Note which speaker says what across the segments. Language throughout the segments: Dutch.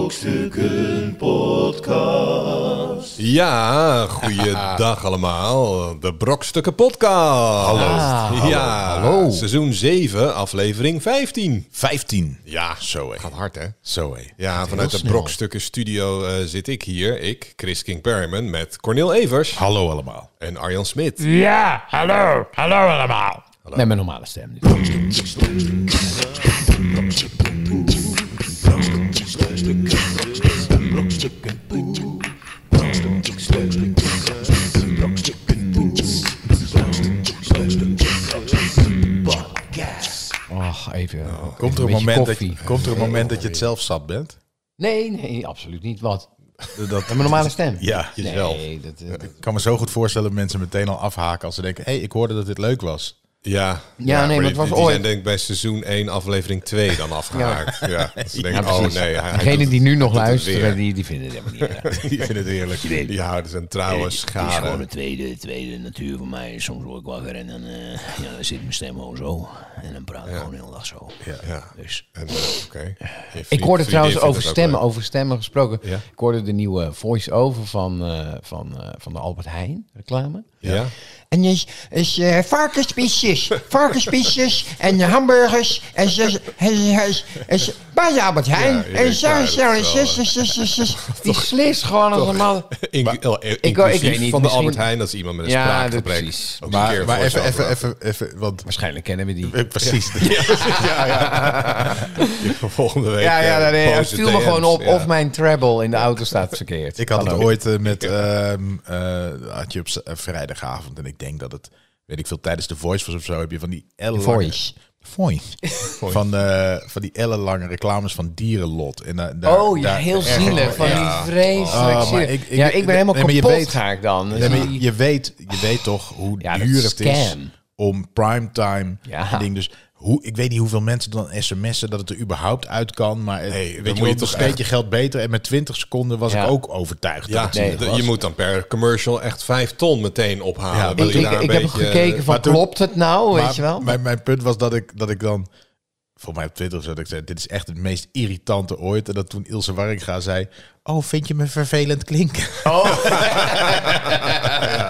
Speaker 1: Brokstukken Podcast.
Speaker 2: Ja, goeiedag allemaal. De Brokstukken Podcast. Hallo. ja,
Speaker 3: Ah, hallo.
Speaker 2: Seizoen 7, aflevering 15.
Speaker 3: 15.
Speaker 2: Ja, zo Gaat hard, hè?
Speaker 3: Zo hé.
Speaker 2: Ja, vanuit de
Speaker 3: snel.
Speaker 2: Brokstukken Studio eh, zit ik hier. Ik, Chris King Perryman, met Cornel Evers
Speaker 3: Hallo allemaal.
Speaker 2: en Arjan Smit.
Speaker 4: Ja, hallo. Hallo allemaal. Met mijn normale stem. nu. Och, even.
Speaker 2: Nou,
Speaker 4: eh,
Speaker 3: Komt er,
Speaker 4: een
Speaker 3: een
Speaker 4: beetje
Speaker 3: moment dat,
Speaker 4: koffie.
Speaker 3: komt er een moment dat je het zelf zat bent?
Speaker 4: Nee, nee, absoluut niet. Wat?
Speaker 3: Dat,
Speaker 4: Met mijn normale stem?
Speaker 3: ja, jezelf.
Speaker 4: Nee, dat, eh,
Speaker 3: Ik kan me zo goed voorstellen dat mensen meteen al afhaken als ze denken... hé, hey, ik hoorde dat dit leuk was.
Speaker 2: Ja,
Speaker 4: nee, maar het
Speaker 2: die-
Speaker 4: was
Speaker 2: die
Speaker 4: ooit.
Speaker 2: zijn denk ik bij seizoen 1, aflevering 2 dan afgehaakt. ja. dat ze denken,
Speaker 4: Ja,
Speaker 2: oh
Speaker 4: precies.
Speaker 2: nee. hij- hij doet
Speaker 4: Degenen
Speaker 2: het-
Speaker 4: die nu nog
Speaker 2: doet het weer.
Speaker 4: luisteren, die, die vinden het helemaal niet erg.
Speaker 2: Die vinden het heerlijk. Die houden zijn trouwe
Speaker 5: Het is gewoon
Speaker 2: schade.
Speaker 5: een tweede, tweede natuur voor mij. Soms word ik wakker en dan, eh, ja, dan zit mijn stem gewoon zo. En dan praat ik gewoon heel dag zo.
Speaker 2: Ja.
Speaker 5: Dus
Speaker 2: En, eh, oké. Je
Speaker 4: Ik
Speaker 2: vriend-
Speaker 4: hoorde
Speaker 2: vriendin
Speaker 4: trouwens
Speaker 2: vindt
Speaker 4: over
Speaker 2: het ook
Speaker 4: stemmen,
Speaker 2: leuk.
Speaker 4: over stemmen gesproken.
Speaker 2: Ja.
Speaker 4: Ik hoorde de nieuwe voice-over van, eh, van, eh, van de Albert Heijn reclame.
Speaker 2: Ja.
Speaker 4: En is, is eh, varkenspiesjes, varkenspiesjes en hamburgers en zes, en zes, en zes- bij de Albert Heijn.
Speaker 2: Ja, ja,
Speaker 4: en zo,
Speaker 2: ja,
Speaker 4: zo,
Speaker 2: dat
Speaker 4: en
Speaker 2: is
Speaker 4: zes, zes, zes, zes, zes. Die slist gewoon als een man.
Speaker 2: In, wel, eh,
Speaker 4: ik
Speaker 2: inclusief
Speaker 4: weet niet,
Speaker 2: van de
Speaker 4: misschien-
Speaker 2: Albert Heijn, dat is iemand met een
Speaker 4: Ja,
Speaker 2: spraakgebrek.
Speaker 4: dat precies.
Speaker 2: Ook een
Speaker 3: Maar,
Speaker 2: keer
Speaker 3: maar even,
Speaker 2: voice-over
Speaker 3: even,
Speaker 2: maken.
Speaker 3: even, even, want...
Speaker 4: Waarschijnlijk kennen we die.
Speaker 3: eh, Precies.
Speaker 2: Volgende week.
Speaker 4: Ja, ja,
Speaker 2: eh,
Speaker 4: nee, nee, het
Speaker 2: boze
Speaker 4: viel me
Speaker 2: DM's,
Speaker 4: gewoon op
Speaker 2: ja.
Speaker 4: of mijn treble in de auto staat verkeerd.
Speaker 3: Ik had het
Speaker 4: Kan ook.
Speaker 3: ooit eh, met... ehm, eh, had je op z- eh, vrijdagavond en ik denk dat het... Weet ik veel, tijdens de Voice was of zo heb je van die ellenlange...
Speaker 4: Voice.
Speaker 3: Voice. Van, eh, van die ellenlange reclames van dierenlot. En, daar- daar-
Speaker 4: Oh, ja,
Speaker 3: daar-
Speaker 4: heel
Speaker 3: erger-
Speaker 4: zielig. Van
Speaker 2: Ja.
Speaker 4: die vreselijk
Speaker 3: Oh, maar
Speaker 4: zielig.
Speaker 3: ik- ik-
Speaker 4: ja, ik ben
Speaker 3: nee,
Speaker 4: helemaal
Speaker 3: maar je
Speaker 4: kapot
Speaker 3: weet-
Speaker 4: ga ik dan. Dus
Speaker 3: Nee, maar
Speaker 4: die-
Speaker 3: je, je weet, je weet toch hoe
Speaker 4: Ja, dat
Speaker 3: duur
Speaker 4: is
Speaker 3: het is
Speaker 4: scam.
Speaker 3: om primetime
Speaker 4: Ja.
Speaker 3: en ding. Dus hoe, ik weet niet hoeveel mensen dan sms'en dat het er überhaupt uit kan. Maar het-
Speaker 2: dan
Speaker 3: weet
Speaker 2: moet
Speaker 3: je wel,
Speaker 2: je
Speaker 3: nog
Speaker 2: toch
Speaker 3: steeds
Speaker 2: echt-
Speaker 3: je geld beter. En met 20 seconden was
Speaker 4: Ja.
Speaker 3: ik ook overtuigd.
Speaker 2: Ja,
Speaker 3: dat het zielig
Speaker 2: de-
Speaker 3: was.
Speaker 2: je moet dan per commercial echt vijf ton meteen ophalen.
Speaker 3: Ja,
Speaker 2: Wil
Speaker 4: ik,
Speaker 2: je
Speaker 4: ik,
Speaker 2: daar
Speaker 4: ik
Speaker 2: een
Speaker 4: heb ook
Speaker 2: beetje-
Speaker 4: gekeken van,
Speaker 3: nou maar toen-
Speaker 4: klopt het nou,
Speaker 3: Maar
Speaker 4: weet je wel?
Speaker 3: Mijn, mijn punt was dat ik, dat ik dan... Voor mij op Twitter zat ik zei, dit is echt het meest irritante ooit. En dat toen Ilse Warringa zei... Oh, vind je me vervelend klinken?
Speaker 4: Oh.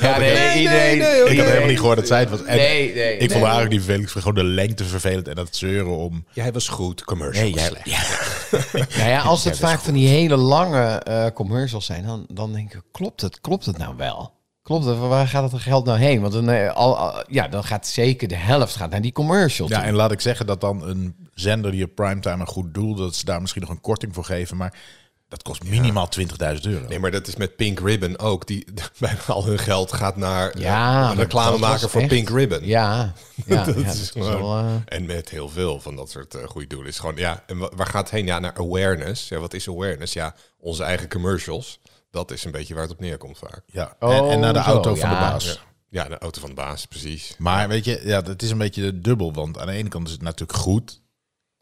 Speaker 4: Ja, nee, iedereen-
Speaker 3: ik had
Speaker 4: iedereen-
Speaker 3: helemaal niet gehoord dat zij het was. En
Speaker 4: Oh, Nee, nee.
Speaker 3: ik vond haar ook niet vervelend. Ik vond gewoon de lengte vervelend en dat zeuren om...
Speaker 2: Jij was goed, commercial was
Speaker 3: jij-
Speaker 2: slecht.
Speaker 4: Nou ja, als het vaak van die hele lange eh, commercials zijn, dan, dan denk ik, klopt het, klopt het nou wel? Klopt het, waar gaat het geld nou heen? Want dan, eh, al, al- ja, dan gaat zeker de helft gaat naar die commercial
Speaker 3: Ja,
Speaker 4: toe.
Speaker 3: en laat ik zeggen dat dan een zender die op primetime een goed doel... dat ze daar misschien nog een korting voor geven, maar... Dat kost minimaal 20.000 euro.
Speaker 2: Nee, maar dat is met Pink Ribbon ook. Die, bijna al hun geld gaat naar
Speaker 4: Ja,
Speaker 2: ja,
Speaker 4: maar
Speaker 2: reclame
Speaker 4: dat
Speaker 2: maken
Speaker 4: was
Speaker 2: voor
Speaker 4: echt-
Speaker 2: Pink Ribbon.
Speaker 4: Ja, ja,
Speaker 2: dat
Speaker 4: ja,
Speaker 2: is gewoon-
Speaker 4: wel, eh,
Speaker 2: En met heel veel van dat soort eh, goede doelen. Is gewoon, ja, en wa- waar gaat het heen? Ja, naar awareness. Ja, wat is awareness? Ja, onze eigen commercials. Dat is een beetje waar het op neerkomt vaak.
Speaker 3: Ja.
Speaker 4: Oh,
Speaker 3: en, en naar de
Speaker 4: zo,
Speaker 3: auto van de
Speaker 4: ja.
Speaker 3: baas.
Speaker 2: Ja, de auto van de baas, precies.
Speaker 3: Maar weet je, ja, dat is een beetje dubbel. Want aan de ene kant is het natuurlijk goed.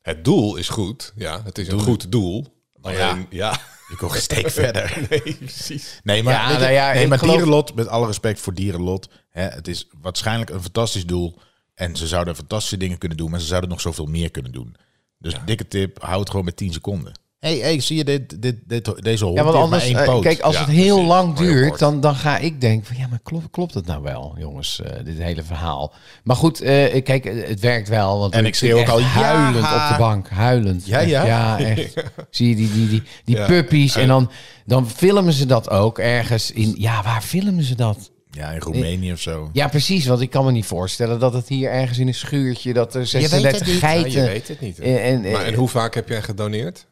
Speaker 2: Het doel is goed. Ja, het is een goed doel.
Speaker 3: ja.
Speaker 2: Alleen, ja.
Speaker 3: Je kon geen steek verder.
Speaker 2: Nee, precies.
Speaker 3: Nee, maar,
Speaker 4: Ja,
Speaker 3: weet je,
Speaker 4: nou ja,
Speaker 3: nee,
Speaker 4: ik
Speaker 3: maar
Speaker 4: geloof-
Speaker 3: dierenlot, met alle respect voor dierenlot. Hè, het is waarschijnlijk een fantastisch doel. En ze zouden fantastische dingen kunnen doen, maar ze zouden nog zoveel meer kunnen doen. Dus dikke tip, houd het gewoon met 10 seconden. hey, hey, zie je dit, dit, dit, deze hond
Speaker 4: Ja, want
Speaker 3: heeft maar
Speaker 4: anders,
Speaker 3: één
Speaker 4: eh,
Speaker 3: poot.
Speaker 4: kijk, als
Speaker 2: Ja,
Speaker 4: het heel
Speaker 2: precies.
Speaker 4: lang
Speaker 2: Maar heel
Speaker 4: duurt,
Speaker 2: kort.
Speaker 4: dan, dan ga ik denken van ja, maar klopt, klopt het nou wel, jongens, eh, dit hele verhaal. Maar goed, eh, kijk, eh, het werkt wel. Want
Speaker 3: En ik
Speaker 4: zit
Speaker 3: schreeuw ook
Speaker 4: echt
Speaker 3: al, ja!
Speaker 4: huilend op de bank, huilend.
Speaker 3: Ja,
Speaker 4: Echt,
Speaker 3: ja.
Speaker 4: echt. Zie je die, die, die, die
Speaker 2: Ja.
Speaker 4: puppies en dan, dan filmen ze dat ook ergens in, ja, waar filmen ze dat?
Speaker 3: Ja, in Roemenië of zo.
Speaker 4: Ja, precies, want ik kan me niet voorstellen dat het hier ergens in een schuurtje, dat er 36 geiten...
Speaker 2: Ja, je weet het niet. hè?
Speaker 4: En, en,
Speaker 2: maar en hoe vaak heb jij gedoneerd?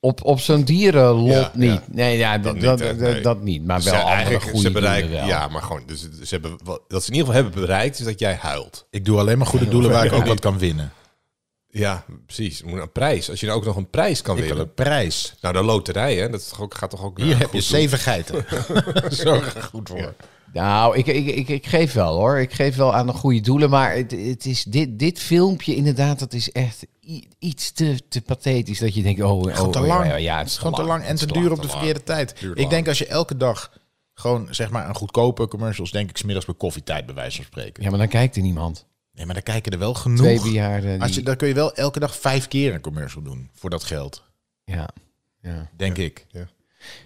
Speaker 4: op, op zo'n dierenlot
Speaker 2: Ja, ja.
Speaker 4: niet. Nee, ja, dat,
Speaker 2: niet,
Speaker 4: dat,
Speaker 2: hè?
Speaker 4: dat,
Speaker 2: Nee.
Speaker 4: dat niet. Maar wel
Speaker 2: Ze-
Speaker 4: andere goede
Speaker 2: ze
Speaker 4: doelen
Speaker 2: bereiken,
Speaker 4: wel.
Speaker 2: Ja, maar gewoon, dus ze hebben, wat, dat ze in ieder geval hebben bereikt, is dat jij huilt.
Speaker 3: Ik doe alleen maar goede doelen waar ik ook wat kan winnen.
Speaker 2: Ja, precies. Je Moet een prijs. Als je nou ook nog een prijs kan
Speaker 3: Ik wil
Speaker 2: winnen.
Speaker 3: een prijs.
Speaker 2: Nou, de loterij, hè? Dat is toch ook, gaat toch ook.
Speaker 3: Hier
Speaker 2: nou,
Speaker 3: heb
Speaker 2: goed
Speaker 3: je
Speaker 2: doen.
Speaker 3: zeven geiten. Zorg er goed voor.
Speaker 4: Nou, ik, ik, ik, ik geef wel hoor. Ik geef wel aan de goede doelen. Maar het, het is dit, dit filmpje inderdaad, dat is echt i- iets te, te pathetisch. Dat je denkt, oh, oh,
Speaker 3: Gewoon te
Speaker 4: oh,
Speaker 3: lang.
Speaker 4: Ja, ja, het is
Speaker 3: gewoon te lang en
Speaker 4: Het
Speaker 3: te
Speaker 4: is
Speaker 3: duur
Speaker 4: lang,
Speaker 3: op
Speaker 4: te
Speaker 3: de
Speaker 4: lang.
Speaker 3: verkeerde tijd.
Speaker 2: Duurt
Speaker 3: Ik
Speaker 2: lang.
Speaker 3: denk als je elke dag gewoon zeg maar een goedkope commercials, denk ik, smiddags bij koffietijd bij wijze van spreken.
Speaker 4: Ja, maar dan kijkt er niemand.
Speaker 3: Nee, maar daar kijken er wel genoeg.
Speaker 4: Twee bejaarden.
Speaker 3: Als je,
Speaker 4: die-
Speaker 3: dan kun je wel elke dag vijf keer een commercial doen voor dat geld.
Speaker 4: Ja. ja.
Speaker 3: denk ik.
Speaker 2: ja.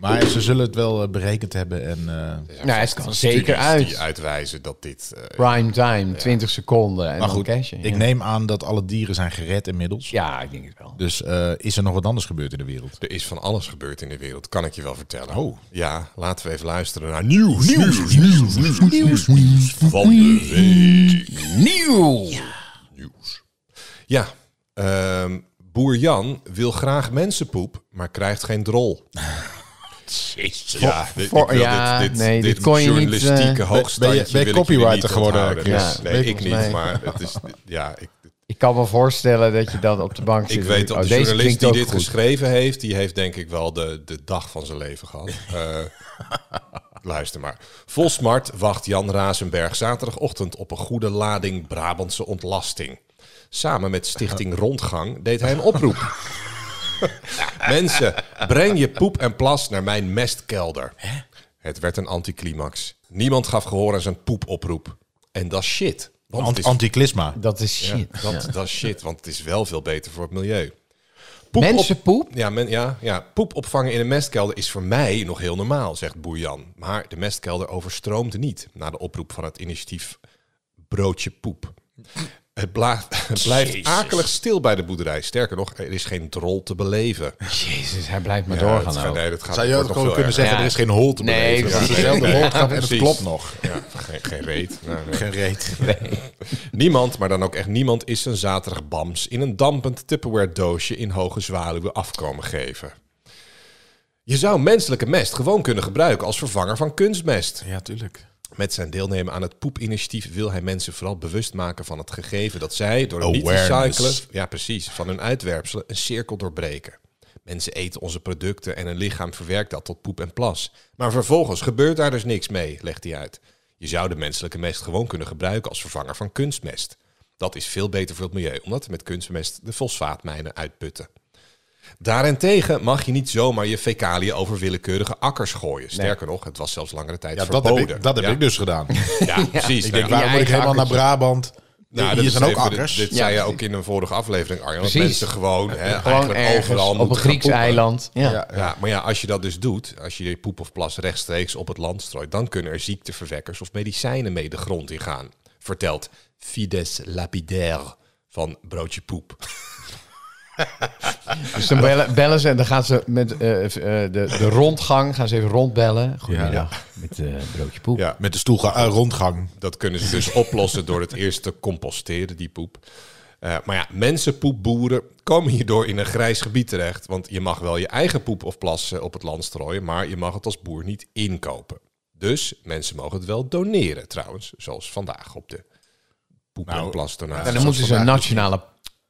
Speaker 3: Maar ze zullen het wel eh, berekend hebben en... eh,
Speaker 2: Er zijn
Speaker 4: Nou, het
Speaker 2: vast
Speaker 4: kan
Speaker 2: studies
Speaker 4: zeker
Speaker 2: Die
Speaker 4: uit.
Speaker 2: uitwijzen dat dit... eh,
Speaker 4: Prime time, 20 seconden en
Speaker 3: maar
Speaker 4: dan
Speaker 3: goed,
Speaker 4: cashen.
Speaker 3: ik
Speaker 4: ja.
Speaker 3: neem aan dat alle dieren zijn gered inmiddels.
Speaker 4: ja, ik denk het wel.
Speaker 3: Dus eh, is er nog wat anders gebeurd in de wereld?
Speaker 2: er is van alles gebeurd in de wereld, kan ik je wel vertellen.
Speaker 3: Oh.
Speaker 2: Ja, laten we even luisteren naar nieuws. Nieuws, nieuws, nieuws, nieuws, nieuws, van de week.
Speaker 4: Nieuw!
Speaker 2: Nieuws. Ja, ehm, boer Jan wil graag mensenpoep, maar krijgt geen drol. Ja, dit,
Speaker 4: voor-
Speaker 2: ik wil
Speaker 4: ja,
Speaker 2: dit, dit,
Speaker 4: nee,
Speaker 2: dit kon je niet... Journalistieke
Speaker 4: eh,
Speaker 2: hoogstandje
Speaker 3: ben je- ben je
Speaker 2: wil ik jullie
Speaker 3: copywriter
Speaker 2: niet
Speaker 3: geworden,
Speaker 2: onthouden.
Speaker 3: Chris?
Speaker 4: Ja,
Speaker 2: nee,
Speaker 3: ben je
Speaker 2: ik niet,
Speaker 4: volgens mij.
Speaker 2: maar het is... Ja, ik,
Speaker 4: Ik kan me voorstellen dat je dan op de bank zit.
Speaker 2: Ik
Speaker 4: en
Speaker 2: weet
Speaker 4: denkt,
Speaker 2: dat de
Speaker 4: oh, deze
Speaker 2: journalist
Speaker 4: klinkt
Speaker 2: die
Speaker 4: ook
Speaker 2: dit
Speaker 4: goed.
Speaker 2: geschreven heeft, die heeft denk ik wel de, de dag van zijn leven gehad. Eh, luister maar. Vol smart wacht Jan Razenberg zaterdagochtend op een goede lading Brabantse ontlasting. Samen met Stichting Rondgang deed hij een oproep. Mensen, breng je poep en plas naar mijn mestkelder. Het werd een anticlimax. Niemand gaf gehoor aan zijn poepoproep. En dat is shit. Want het
Speaker 3: Ant
Speaker 2: is
Speaker 3: Anticlisma.
Speaker 4: Dat is shit.
Speaker 2: dat, dat is shit, want het is wel veel beter voor het milieu. Poep
Speaker 4: Mensenpoep?
Speaker 2: Op, ja, men, ja, ja, poep opvangen in een mestkelder is voor mij nog heel normaal, zegt Boer Jan. Maar de mestkelder overstroomt niet na de oproep van het initiatief Broodje Poep. Het, bla- het blijft akelig stil bij de boerderij. Sterker nog, er is geen drol te beleven.
Speaker 4: Jezus, hij blijft maar
Speaker 2: Ja,
Speaker 4: doorgaan
Speaker 2: het
Speaker 4: nou
Speaker 2: gaat-
Speaker 4: ook.
Speaker 2: nee, dat gaat,
Speaker 3: Zou je
Speaker 2: wordt
Speaker 3: ook
Speaker 2: nog
Speaker 3: gewoon
Speaker 2: veel
Speaker 3: kunnen zeggen,
Speaker 2: erger.
Speaker 4: Ja.
Speaker 3: er is geen hol te
Speaker 4: Nee,
Speaker 3: beleven.
Speaker 4: dat
Speaker 3: Dat
Speaker 4: is
Speaker 3: is dezelfde boodschap en dat
Speaker 2: precies.
Speaker 3: klopt nog.
Speaker 2: Ja, geen, geen reet. Nou, nee.
Speaker 3: Geen reet.
Speaker 2: Niemand, maar dan ook echt niemand, is een zaterdag bams in een dampend Tupperware doosje in hoge zwaluwen afkomen geven. Je zou menselijke mest gewoon kunnen gebruiken als vervanger van kunstmest.
Speaker 3: Ja, tuurlijk.
Speaker 2: Met zijn deelnemen aan het poepinitiatief wil hij mensen vooral bewust maken van het gegeven dat zij door het niet
Speaker 3: Awareness.
Speaker 2: recyclen, ja precies, van hun uitwerpselen een cirkel doorbreken. Mensen eten onze producten en hun lichaam verwerkt dat tot poep en plas. Maar vervolgens gebeurt daar dus niks mee, legt hij uit. Je zou de menselijke mest gewoon kunnen gebruiken als vervanger van kunstmest. Dat is veel beter voor het milieu, omdat met kunstmest de fosfaatmijnen uitputten. Daarentegen mag je niet zomaar je fecaliën over willekeurige akkers gooien. Sterker nog, het was zelfs langere tijd
Speaker 3: Ja, dat
Speaker 2: verboden.
Speaker 3: heb, ik, dat heb
Speaker 2: Ja.
Speaker 3: ik dus gedaan.
Speaker 2: Ja, precies.
Speaker 3: Ik denk,
Speaker 2: Nou ja.
Speaker 3: waarom moet ik
Speaker 4: eigen
Speaker 3: helemaal naar Brabant?
Speaker 2: Nou, dat
Speaker 3: Hier
Speaker 2: is
Speaker 3: zijn ook
Speaker 2: even-
Speaker 3: akkers.
Speaker 2: Dit, dit
Speaker 4: Ja,
Speaker 2: zei je
Speaker 4: precies.
Speaker 2: ook in een vorige aflevering, Arjan. Dat
Speaker 4: Precies.
Speaker 2: mensen gewoon, hè,
Speaker 4: Gewoon
Speaker 2: eigenlijk
Speaker 4: ergens
Speaker 2: overal
Speaker 4: op een
Speaker 2: moeten gaan
Speaker 4: Grieks
Speaker 2: poepen.
Speaker 4: eiland. Ja.
Speaker 3: Ja.
Speaker 2: Ja, maar ja, als je dat dus doet, als je je poep of plas rechtstreeks op het land strooit, dan kunnen er ziekteverwekkers of medicijnen mee de grond in gaan. Vertelt Fides Lapidaire van Broodje Poep.
Speaker 4: Dus dan bellen, bellen ze en dan gaan ze met eh, eh, de, de rondgang gaan ze even rondbellen. Goedemiddag, met eh, broodje poep.
Speaker 2: Ja.
Speaker 3: Met de stoel eh, rondgang.
Speaker 2: Dat kunnen ze dus oplossen door het eerst te composteren, die poep. Eh, maar ja, mensenpoepboeren komen hierdoor in een grijs gebied terecht. Want je mag wel je eigen poep of plas eh, op het land strooien, maar je mag het als boer niet inkopen. Dus mensen mogen het wel doneren trouwens, zoals vandaag op de poep- en
Speaker 3: Nou,
Speaker 4: En
Speaker 2: plasdonatie.
Speaker 4: dan moeten ze een nationale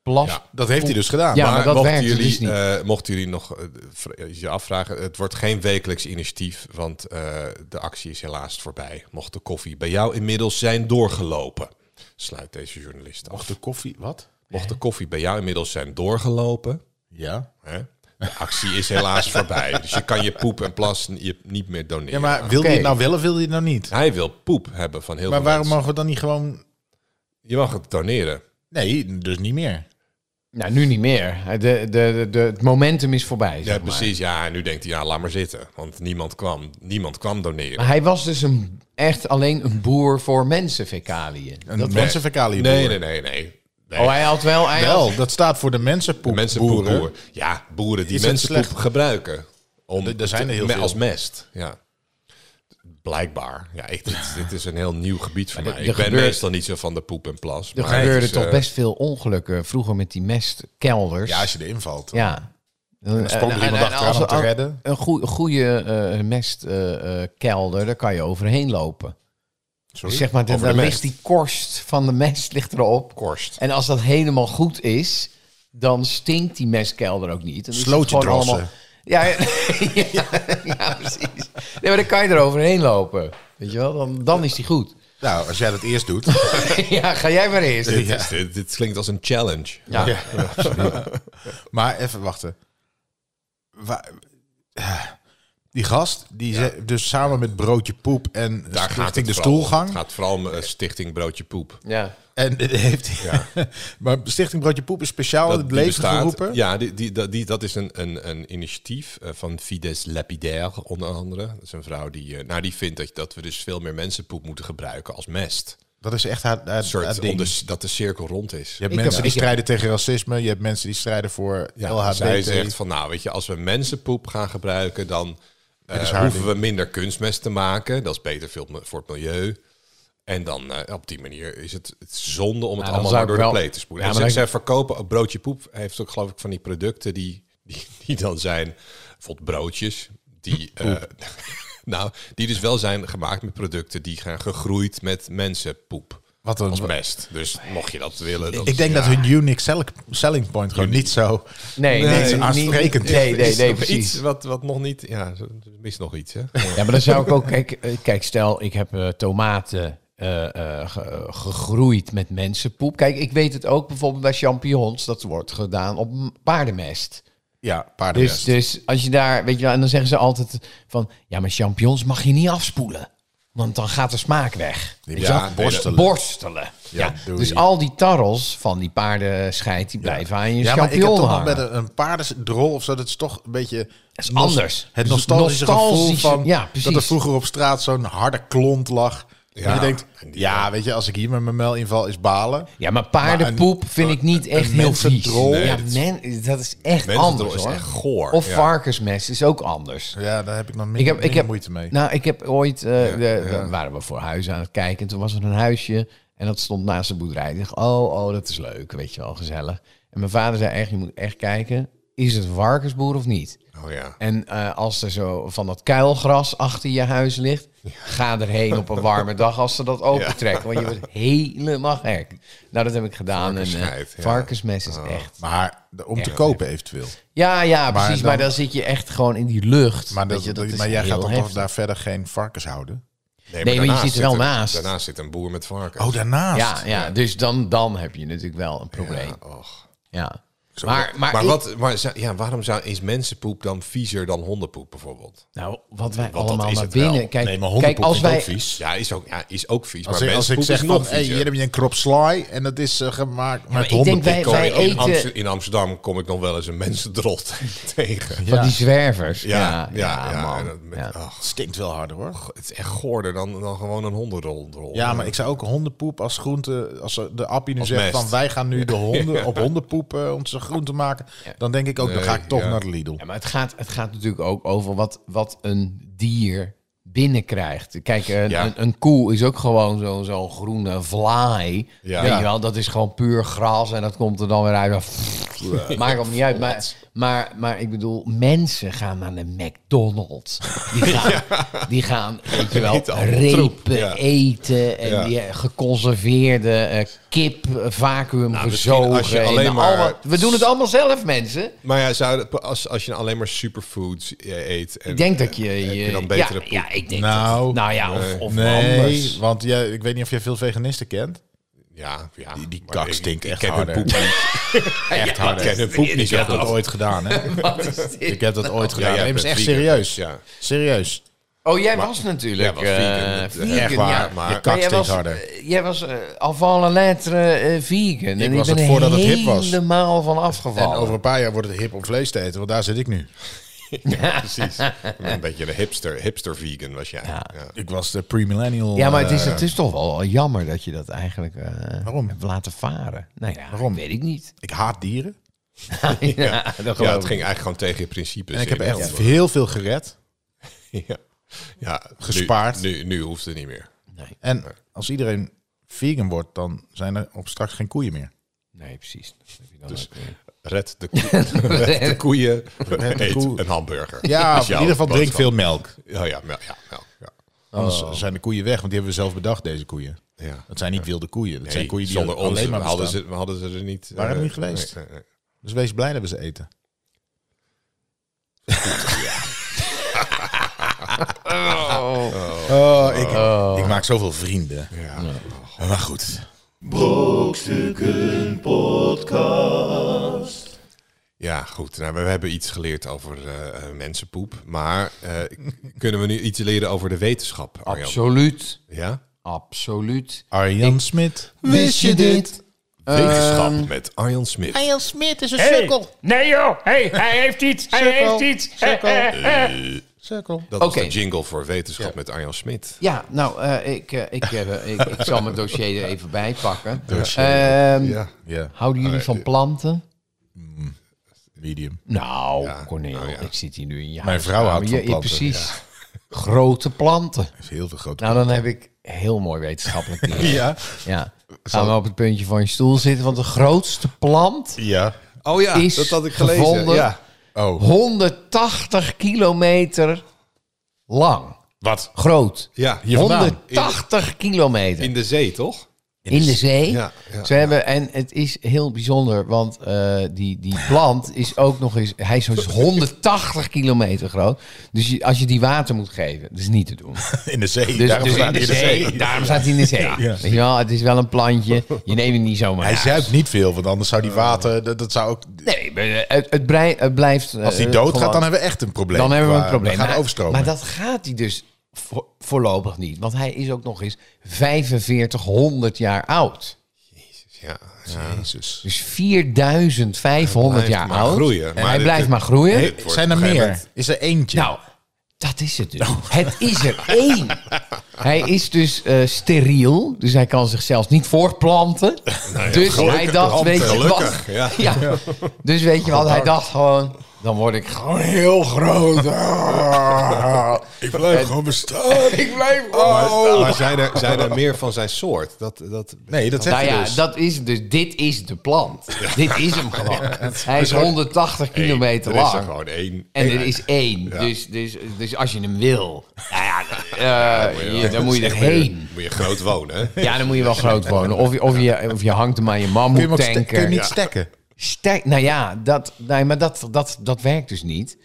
Speaker 4: plas...
Speaker 2: Ja.
Speaker 3: Dat heeft hij dus gedaan.
Speaker 4: Ja. maar dat
Speaker 2: mochten
Speaker 4: werkt
Speaker 2: jullie,
Speaker 4: dus niet.
Speaker 2: eh, mochten jullie nog eh, vr- eh, je afvragen, het wordt geen wekelijks initiatief, want eh, de actie is helaas voorbij. Mocht de koffie bij jou inmiddels zijn doorgelopen, sluit deze journalist af.
Speaker 3: Mocht de koffie... Wat?
Speaker 2: Mocht de koffie bij jou inmiddels zijn doorgelopen,
Speaker 3: Ja.
Speaker 2: hè? de actie is helaas voorbij. Dus je kan je poep en plas n- je- niet meer doneren.
Speaker 3: Ja, maar wil
Speaker 4: Oké.
Speaker 3: hij het nou wel of wil hij het nou niet?
Speaker 2: Hij wil poep hebben van heel
Speaker 3: Maar
Speaker 2: veel
Speaker 3: waarom
Speaker 2: mensen.
Speaker 3: mogen we dan niet gewoon...
Speaker 2: Je mag het doneren.
Speaker 3: Nee, dus niet meer.
Speaker 4: Nou, nu niet meer. De, de, de, de- het momentum is voorbij, zeg
Speaker 2: Ja,
Speaker 4: maar.
Speaker 2: precies. Ja, en nu denkt hij, ja, laat maar zitten. Want niemand kwam. Niemand kwam doneren.
Speaker 4: Maar hij was dus een, echt alleen een boer voor mensenfecaliën.
Speaker 3: Een mensenfecaliën
Speaker 2: Nee,
Speaker 3: boer.
Speaker 2: nee, nee, nee. nee.
Speaker 4: Oh, hij had wel... Hij had-
Speaker 3: Wel, dat staat voor de mensenpoep.
Speaker 2: Mensenpoepboeren.
Speaker 3: boeren.
Speaker 2: Ja, boeren die
Speaker 3: Is het
Speaker 2: mensenpoep
Speaker 3: slecht?
Speaker 2: gebruiken. Om
Speaker 3: Er- er zijn er heel
Speaker 2: te-
Speaker 3: veel.
Speaker 2: Als mest, ja. Blijkbaar. Ja, ik, dit, dit is een heel nieuw gebied voor mij.
Speaker 4: er
Speaker 2: Ik ben
Speaker 4: gebeurt-
Speaker 2: meestal niet zo van de poep en plas.
Speaker 4: Er
Speaker 2: maar het
Speaker 4: gebeurden
Speaker 2: is,
Speaker 4: toch
Speaker 2: eh,
Speaker 4: best veel ongelukken vroeger met die mestkelders.
Speaker 3: Ja, als je erin valt.
Speaker 4: Ja. Dan
Speaker 3: sprong er iemand achteraan om te redden.
Speaker 4: Een goede, goede eh, mestkelder, daar kan je overheen lopen.
Speaker 3: Sorry?
Speaker 4: Dus zeg maar, dan
Speaker 2: Over de
Speaker 4: dan
Speaker 2: mest.
Speaker 4: ligt die korst van de mest ligt erop.
Speaker 2: Korst.
Speaker 4: En als dat helemaal goed is, dan stinkt die mestkelder ook niet. Dan is het
Speaker 3: Slootje
Speaker 4: gewoon
Speaker 3: drossen.
Speaker 4: allemaal- Ja, ja, ja, ja, precies. Nee, maar dan kan je er overheen lopen. Weet je wel, dan, dan is die goed.
Speaker 3: Nou, als jij dat eerst doet.
Speaker 4: ja, ga jij maar eerst.
Speaker 2: Dit, is- dit, dit klinkt als een challenge.
Speaker 4: Ja.
Speaker 3: Ja. Maar even wachten. Wa- eh, die gast, die ze- dus samen met Broodje Poep en
Speaker 2: Daar gaat
Speaker 3: Stichting
Speaker 2: het
Speaker 3: De
Speaker 2: vooral om.
Speaker 3: Stoelgang.
Speaker 2: Het gaat vooral om eh, Stichting Broodje Poep.
Speaker 4: Ja.
Speaker 3: En dit heeft, maar Stichting Broodje Poep is speciaal in het
Speaker 2: die
Speaker 3: leven
Speaker 2: bestaat-
Speaker 3: geroepen.
Speaker 2: Ja, die, die, dat- die, dat is een, een, een initiatief eh, van Fides Lapidaire onder andere. Dat is een vrouw die, eh, nou, die vindt dat, dat we dus veel meer mensenpoep moeten gebruiken als mest.
Speaker 3: Dat is echt haar, haar,
Speaker 2: Een soort
Speaker 3: haar ding.
Speaker 2: om de, dat de cirkel rond is.
Speaker 3: Je hebt
Speaker 4: Ik
Speaker 3: mensen
Speaker 4: heb-
Speaker 3: die
Speaker 4: ik heb-
Speaker 3: strijden tegen racisme. Je hebt mensen die strijden voor
Speaker 2: Ja,
Speaker 3: LHBT.
Speaker 2: zij zegt van, nou weet je, als we mensenpoep gaan gebruiken, dan eh,
Speaker 3: is dus haar
Speaker 2: hoeven
Speaker 3: ding.
Speaker 2: we minder kunstmest te maken. Dat is beter voor het mi- voor het milieu. En dan eh, op die manier is het, het zonde om het
Speaker 4: dan
Speaker 2: allemaal maar
Speaker 4: zou ik
Speaker 2: door de
Speaker 4: wel-
Speaker 2: pleet te spoelen.
Speaker 4: Ja,
Speaker 2: en
Speaker 4: maar
Speaker 2: ze,
Speaker 4: dan-
Speaker 2: ze verkopen ook broodje poep. Heeft ook geloof ik van die producten die, die, die dan zijn, bijvoorbeeld broodjes, die, eh, nou, die dus wel zijn gemaakt met producten die gaan gegroeid met mensenpoep.
Speaker 3: Wat een-
Speaker 2: als mest. Dus mocht je dat willen. dan-
Speaker 3: Ik denk dat hun unique sell- selling point gewoon niet zo...
Speaker 4: Nee,
Speaker 3: Nee,
Speaker 4: nee,
Speaker 3: het is
Speaker 4: niet-
Speaker 3: aansprekend.
Speaker 4: Nee, nee,
Speaker 2: Is
Speaker 4: nee,
Speaker 2: nog
Speaker 4: precies.
Speaker 2: Iets wat, wat nog niet. Ja, er mist nog iets. Hè?
Speaker 4: Ja, maar dan zou ik ook... Kijk, eh, kijk stel, ik heb eh, tomaten eh, eh, ge- eh, gegroeid met mensenpoep. Kijk, ik weet het ook bijvoorbeeld bij champignons. Dat wordt gedaan op m- paardenmest.
Speaker 3: Ja,
Speaker 4: Dus,
Speaker 3: paardenmest.
Speaker 4: dus als je daar... Weet je wel, en dan zeggen ze altijd van... Ja, maar champignons mag je niet afspoelen. Want dan gaat de smaak weg.
Speaker 3: Die
Speaker 4: Weet je
Speaker 3: ja,
Speaker 4: wel?
Speaker 3: borstelen.
Speaker 4: Borstelen. Ja,
Speaker 3: doei.
Speaker 4: dus al die tarrels van die paardenscheid... die blijven aan je
Speaker 3: ja, maar ik heb
Speaker 4: champignon
Speaker 3: toch nog
Speaker 4: hangen.
Speaker 3: met een, een paardendrol of zo. Dat is toch een beetje...
Speaker 4: Dat is
Speaker 3: nos-
Speaker 4: anders.
Speaker 3: Het
Speaker 4: Dus
Speaker 3: nostalgische,
Speaker 4: nostalgische-
Speaker 3: gevoel van
Speaker 4: ja, precies.
Speaker 3: dat er vroeger op straat zo'n harde klont lag. En je denkt, ja, weet je, als ik hier met mijn mel inval is balen.
Speaker 4: Ja, maar paardenpoep
Speaker 3: Maar een-
Speaker 4: vind ik niet
Speaker 3: een-
Speaker 4: echt
Speaker 3: een
Speaker 4: heel vies.
Speaker 3: mensendrol- Nee,
Speaker 4: ja,
Speaker 2: dat is-
Speaker 4: men, dat is echt
Speaker 2: Mensendrol
Speaker 4: anders
Speaker 2: is
Speaker 4: hoor.
Speaker 2: echt goor,
Speaker 4: Of
Speaker 2: ja.
Speaker 4: varkensmest is ook anders.
Speaker 3: Ja, daar heb ik nog meer,
Speaker 4: Ik heb, ik heb,
Speaker 3: moeite mee.
Speaker 4: Nou, ik heb ooit, eh, de, de- waren we voor huizen aan het kijken. En toen was er een huisje en dat stond naast een boerderij. Ik dacht, oh, oh, dat is leuk, weet je wel, gezellig. En mijn vader zei echt, je moet echt kijken, is het een varkensboer of niet?
Speaker 2: Oh ja.
Speaker 4: En eh, als er zo van dat kuilgras achter je huis ligt, ga erheen op een warme dag als ze dat opentrekken. Want je wordt helemaal gek. Nou, dat heb ik gedaan. En, eh,
Speaker 2: Varkensscheid, ja.
Speaker 4: Varkensmes is echt.
Speaker 3: maar de- om te kopen eventueel.
Speaker 4: Ja, ja, precies. Maar
Speaker 3: dan-
Speaker 4: dan, zit je echt gewoon in die lucht.
Speaker 3: Maar,
Speaker 4: Weet
Speaker 3: dat,
Speaker 4: je, dat is
Speaker 3: maar jij gaat
Speaker 4: heel
Speaker 3: dan toch
Speaker 4: heftig.
Speaker 3: daar verder geen varkens houden?
Speaker 4: maar je
Speaker 2: daarnaast
Speaker 4: zit er wel
Speaker 2: een-
Speaker 4: naast.
Speaker 2: Daarnaast zit een boer met varken.
Speaker 3: Oh, daarnaast?
Speaker 4: Ja, ja, dus dan, dan heb je natuurlijk wel een probleem. Ja.
Speaker 2: och.
Speaker 4: Maar, maar,
Speaker 2: Maar,
Speaker 4: ik-
Speaker 2: wat, maar zou- ja, waarom zou, is mensenpoep dan viezer dan hondenpoep bijvoorbeeld?
Speaker 4: nou, wat wij
Speaker 2: dat
Speaker 4: allemaal
Speaker 2: is
Speaker 4: naar
Speaker 2: het wel.
Speaker 4: binnen. Kijk,
Speaker 3: Nee, maar
Speaker 4: kijk
Speaker 3: hondenpoep
Speaker 4: als
Speaker 3: vind ik
Speaker 4: wij.
Speaker 3: ook vies.
Speaker 2: Ja, is ook, ja, is ook vies.
Speaker 3: Als,
Speaker 2: maar
Speaker 3: ik, als ik
Speaker 2: mensenpoep
Speaker 3: zeg
Speaker 2: is
Speaker 3: nog
Speaker 2: nog
Speaker 3: van, hey, hier
Speaker 2: viezer.
Speaker 3: heb je een krop slaai en dat is eh, gemaakt met
Speaker 4: ik denk
Speaker 3: hondenpik.
Speaker 4: wij-
Speaker 2: Ik kom
Speaker 4: wij
Speaker 2: in, in
Speaker 4: eten-
Speaker 2: Amster- in Amsterdam kom ik nog wel eens een mensendrol te- tegen.
Speaker 4: Van die zwervers.
Speaker 2: Ja,
Speaker 4: Ja, ja,
Speaker 2: en
Speaker 4: man.
Speaker 2: dat met-
Speaker 4: Ja.
Speaker 2: ach,
Speaker 3: Het stinkt wel harder hoor.
Speaker 2: het is echt goorder dan, dan gewoon een hondenrol.
Speaker 3: Ja, maar ik zou ook hondenpoep als groente... Als de appie nu
Speaker 2: Als
Speaker 3: zegt
Speaker 2: mest.
Speaker 3: van wij gaan nu de honden op hondenpoep eh, onze groente maken. Dan denk ik ook, dan ga ik toch
Speaker 2: ja.
Speaker 3: naar de Lidl.
Speaker 4: Ja, maar het gaat, het gaat natuurlijk ook over wat, wat een dier binnenkrijgt. Kijk, een,
Speaker 2: Ja.
Speaker 4: een, een koe is ook gewoon zo'n zo'n groene vlaai.
Speaker 2: Ja.
Speaker 4: Weet
Speaker 2: Ja.
Speaker 4: je wel, dat is gewoon puur gras en dat komt er dan weer uit. Maakt ook niet uit. Maar, maar, maar ik bedoel, mensen gaan naar de McDonald's. Die gaan, die gaan weet je wel,
Speaker 2: Eten allemaal troep,
Speaker 4: repen
Speaker 2: ja.
Speaker 4: eten. En
Speaker 2: Ja.
Speaker 4: die eh, geconserveerde eh, kip, eh,
Speaker 2: Nou,
Speaker 4: vacuüm
Speaker 2: misschien
Speaker 4: gezogen.
Speaker 2: als je
Speaker 4: en
Speaker 2: alleen maar-
Speaker 4: allemaal- we doen het allemaal zelf, mensen.
Speaker 2: Maar ja, zou, als, als je alleen maar superfoods eh, eet... En,
Speaker 4: Ik denk dat je...
Speaker 2: heb je
Speaker 4: je-
Speaker 2: dan betere
Speaker 4: ja,
Speaker 2: poep?
Speaker 4: ja, ik denk
Speaker 3: Nou,
Speaker 4: dat, nou ja, of, of
Speaker 3: nee,
Speaker 4: anders.
Speaker 3: want jij, ik weet niet of jij veel veganisten kent.
Speaker 2: Ja, ja.
Speaker 3: Die- die
Speaker 2: maar
Speaker 3: kak
Speaker 2: ik-
Speaker 3: stinkt
Speaker 2: ik
Speaker 3: echt
Speaker 2: ken hun
Speaker 3: harder.
Speaker 2: poep niet.
Speaker 3: Echt hard.
Speaker 2: Ik ken hun poep niet
Speaker 3: Ik
Speaker 2: zo
Speaker 3: heb dat
Speaker 2: goed.
Speaker 3: ooit gedaan, hè?
Speaker 4: Wat is dit?
Speaker 3: Ik heb dat ooit
Speaker 2: Ja,
Speaker 3: gedaan.
Speaker 2: jij
Speaker 3: Nee, maar
Speaker 2: bent
Speaker 3: echt
Speaker 2: vegan,
Speaker 3: serieus.
Speaker 2: dus ja.
Speaker 3: Serieus.
Speaker 4: Oh, jij was natuurlijk...
Speaker 2: Jij was vegan.
Speaker 4: eh,
Speaker 2: Echt
Speaker 4: vegan,
Speaker 2: waar,
Speaker 4: ja.
Speaker 2: maar- Je
Speaker 3: kak
Speaker 4: jij
Speaker 3: stinkt
Speaker 4: was,
Speaker 3: harder.
Speaker 4: eh, Jij was eh, avant la lettre eh, vegan. en
Speaker 3: was
Speaker 4: ik ben
Speaker 3: het voordat het hip was.
Speaker 4: helemaal van
Speaker 3: En
Speaker 4: afgevallen.
Speaker 3: over een paar jaar wordt het hip om vlees te eten, want daar zit ik nu.
Speaker 2: Precies. Een beetje de hipster, hipster vegan was jij. Ja.
Speaker 3: Ik was de premillennial.
Speaker 4: Ja, maar het
Speaker 3: eh,
Speaker 4: is, het is toch wel jammer dat je dat eigenlijk eh,
Speaker 3: Waarom?
Speaker 4: hebt laten varen. Nou ja,
Speaker 3: Waarom?
Speaker 4: weet ik niet.
Speaker 3: ik haat dieren.
Speaker 4: ja, dat
Speaker 2: Ja,
Speaker 4: geloof
Speaker 2: het ging
Speaker 4: ik.
Speaker 2: eigenlijk gewoon tegen je principes.
Speaker 3: En ik
Speaker 2: in.
Speaker 3: heb echt
Speaker 2: Ja.
Speaker 3: heel veel gered.
Speaker 2: Ja. Ja, nu-
Speaker 3: Gespaard.
Speaker 2: Nu, nu, hoeft het niet meer.
Speaker 3: En als iedereen vegan wordt, dan zijn er op straks geen koeien meer.
Speaker 4: Nee, precies. Dat heb je dan
Speaker 3: Dus-
Speaker 4: ook, eh.
Speaker 2: Red de, koe- red de koeien, eet
Speaker 3: koe.
Speaker 2: een hamburger.
Speaker 3: Ja,
Speaker 2: Dat is
Speaker 3: in
Speaker 2: jouw
Speaker 3: ieder geval drink veel
Speaker 2: boodschap.
Speaker 3: melk.
Speaker 2: Oh ja, mel- ja, mel- ja.
Speaker 3: Anders
Speaker 4: Oh.
Speaker 3: zijn de koeien weg, want die hebben we zelf bedacht, deze koeien.
Speaker 2: Ja.
Speaker 3: Dat zijn niet wilde koeien. Dat zijn
Speaker 2: Nee,
Speaker 3: koeien die
Speaker 2: zonder
Speaker 3: alleen
Speaker 2: ons
Speaker 3: maar
Speaker 2: hadden
Speaker 3: bestaan.
Speaker 2: ze, hadden ze er niet...
Speaker 3: Waren
Speaker 2: eh,
Speaker 3: er niet geweest?
Speaker 2: nee, nee, nee.
Speaker 3: Dus wees blij dat we ze eten. Oh, ik, ik maak zoveel vrienden. Maar goed.
Speaker 1: Brokstukken Podcast.
Speaker 2: Ja, goed. Nou, we hebben iets geleerd over eh, eh, mensenpoep. Maar eh, k- kunnen we nu iets leren over de wetenschap, Arjan?
Speaker 4: Absoluut.
Speaker 2: Ja?
Speaker 4: Absoluut.
Speaker 3: Arjan Smit.
Speaker 4: Wist je dit? Ehm,
Speaker 2: Wetenschap met Arjan Smit.
Speaker 6: Nee joh, hey, hij heeft iets, hij heeft iets. Eh, eh,
Speaker 2: Dat was
Speaker 4: Oké.
Speaker 2: de jingle voor wetenschap met Arjan Smit.
Speaker 4: Ja, nou, eh, ik, eh, ik, eh, ik, ik zal mijn dossier er even bij pakken. Ehm,
Speaker 2: Ja.
Speaker 3: Ja,
Speaker 4: Houden jullie van planten?
Speaker 3: medium.
Speaker 4: Nou,
Speaker 2: Ja,
Speaker 4: Cornel,
Speaker 2: nou ja.
Speaker 4: ik zit hier nu in je
Speaker 3: Oh, Mijn vrouw houdt
Speaker 4: huiskamer.
Speaker 3: van planten,
Speaker 4: Precies. Grote planten.
Speaker 3: Heeft heel veel grote...
Speaker 4: Nou, dan heb ik heel mooi wetenschappelijk nieuws.
Speaker 3: ja.
Speaker 4: Ja. Gaan we op het puntje van je stoel zitten, want de grootste plant
Speaker 3: Ja.
Speaker 2: Oh ja,
Speaker 4: is
Speaker 2: dat had ik gelezen.
Speaker 4: gevonden
Speaker 2: Ja.
Speaker 3: Oh.
Speaker 4: 180 kilometer lang.
Speaker 3: Wat?
Speaker 4: Groot.
Speaker 2: ja, hier vandaan.
Speaker 4: 180 kilometer.
Speaker 2: In de zee, toch?
Speaker 4: In de zee.
Speaker 2: Ja, ja,
Speaker 4: Ze hebben, en het is heel bijzonder, want eh, die, die plant is ook nog eens, hij is zo'n 180 kilometer groot. Dus je- als je die water moet geven, dat is niet te doen.
Speaker 3: In de zee.
Speaker 4: Dus,
Speaker 3: Daarom
Speaker 4: dus
Speaker 3: staat
Speaker 4: in de zee, daarom staat hij in de zee. Weet je wel, het is wel een plantje, je neemt het niet zomaar.
Speaker 3: Hij
Speaker 4: aan.
Speaker 3: zuipt niet veel, want anders zou die water... Dat, dat zou ook...
Speaker 4: Nee, maar, Oh. eh, het, het, brei- het blijft... eh,
Speaker 3: Als die dood gaat,
Speaker 4: gewoon-
Speaker 3: dan hebben we echt een probleem.
Speaker 4: dan hebben we een
Speaker 3: Waar-
Speaker 4: probleem.
Speaker 3: Dan gaan we
Speaker 4: Maar-
Speaker 3: overstromen.
Speaker 4: Maar dat gaat hij dus vo- voorlopig niet. Want hij is ook nog eens 4500 jaar oud.
Speaker 2: Ja.
Speaker 3: Jezus.
Speaker 4: Dus 4500
Speaker 2: Hij blijft
Speaker 4: jaar
Speaker 2: maar
Speaker 4: oud.
Speaker 2: groeien.
Speaker 4: En
Speaker 2: Maar
Speaker 4: hij
Speaker 2: dit-
Speaker 4: blijft maar groeien.
Speaker 2: Dit wordt
Speaker 3: Zijn er
Speaker 2: op een gegeven
Speaker 3: meer? Is er eentje?
Speaker 4: nou, dat is het
Speaker 2: Oh.
Speaker 4: dus. Het is er één. Hij is dus eh, steriel. Dus hij kan zichzelf niet voortplanten.
Speaker 2: Nou
Speaker 4: dus hij dacht, weet je wat...
Speaker 2: Gelukkig, ja.
Speaker 4: Ja. Dus weet je wat, hij dacht gewoon... Dan word ik gewoon Oh, heel groot. Ah.
Speaker 3: ik blijf gewoon bestaan.
Speaker 4: ik blijf
Speaker 2: Maar,
Speaker 4: groot.
Speaker 2: maar zijn, er, zijn er meer van zijn soort? Dat, dat,
Speaker 3: Nee, dat zeg
Speaker 4: Nou
Speaker 3: je
Speaker 4: ja,
Speaker 3: dus.
Speaker 4: dat is het dus. Dit is de plant. Dit is hem gewoon. Hij is 180 kilometer
Speaker 2: Dus Er is er
Speaker 4: lang.
Speaker 2: gewoon één.
Speaker 4: en
Speaker 2: Eén.
Speaker 4: er is één. Dus, dus, dus als je hem wil, nou ja, eh, je- dan moet je erheen.
Speaker 2: eh, Moet je groot wonen, hè?
Speaker 4: Ja, dan moet je wel groot wonen. Of je, of je, of je hangt hem aan je mam
Speaker 3: kun je hem
Speaker 4: moet
Speaker 3: ook ste- kun je hem
Speaker 4: tanken.
Speaker 3: niet stekken?
Speaker 4: Sterk, nou ja, dat, nee, maar dat, dat, dat werkt dus niet.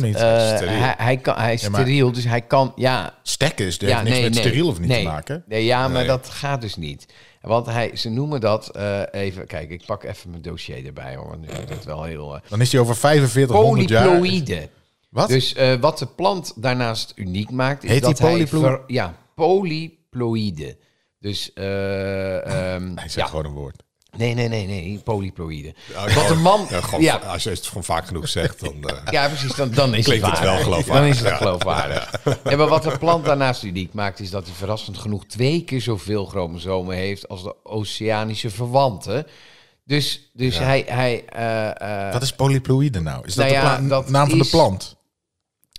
Speaker 3: Waarom niet?
Speaker 4: eh,
Speaker 3: Hij
Speaker 2: steriel.
Speaker 4: hij, hij, kan, hij is
Speaker 3: Ja, maar-
Speaker 4: steriel, dus hij kan... Ja,
Speaker 3: Stekken is, heeft niks met steriel of niet
Speaker 4: nee.
Speaker 3: te maken.
Speaker 4: Nee, ja, maar dat gaat dus niet. Want hij, ze noemen dat eh, even. Kijk, ik pak even mijn dossier erbij hoor. Want nu wordt het wel heel. eh,
Speaker 3: Dan is hij over 4500 jaar...
Speaker 4: polyploïde.
Speaker 3: Wat?
Speaker 4: Dus eh, wat de plant daarnaast uniek maakt. Is
Speaker 3: Heet die
Speaker 4: dat hij
Speaker 3: polyplo-
Speaker 4: ver- Ja, polyploïde. Dus. eh, ehm,
Speaker 3: Hij zegt
Speaker 4: ja.
Speaker 3: gewoon een woord.
Speaker 4: Nee, nee, nee, nee. Polyploïde.
Speaker 2: Ja,
Speaker 4: Wat een
Speaker 2: gewoon-
Speaker 4: man.
Speaker 2: ja, gewoon-
Speaker 4: ja,
Speaker 2: Als je het gewoon vaak genoeg zegt, dan... eh,
Speaker 4: ja, precies. Dan, dan is
Speaker 2: Klinkt
Speaker 4: het,
Speaker 2: het
Speaker 4: waar.
Speaker 2: wel geloofwaardig.
Speaker 4: Dan is het geloofwaardig. Ja, maar wat de plant daarnaast uniek maakt, is dat hij verrassend genoeg twee keer zoveel chromosomen heeft als de oceanische verwanten. Dus, dus hij, hij eh, eh,
Speaker 3: Wat is polyploïde nou? Is dat
Speaker 4: Nou
Speaker 3: de
Speaker 4: ja,
Speaker 3: pla-
Speaker 4: dat
Speaker 3: naam van de
Speaker 4: is-
Speaker 3: plant?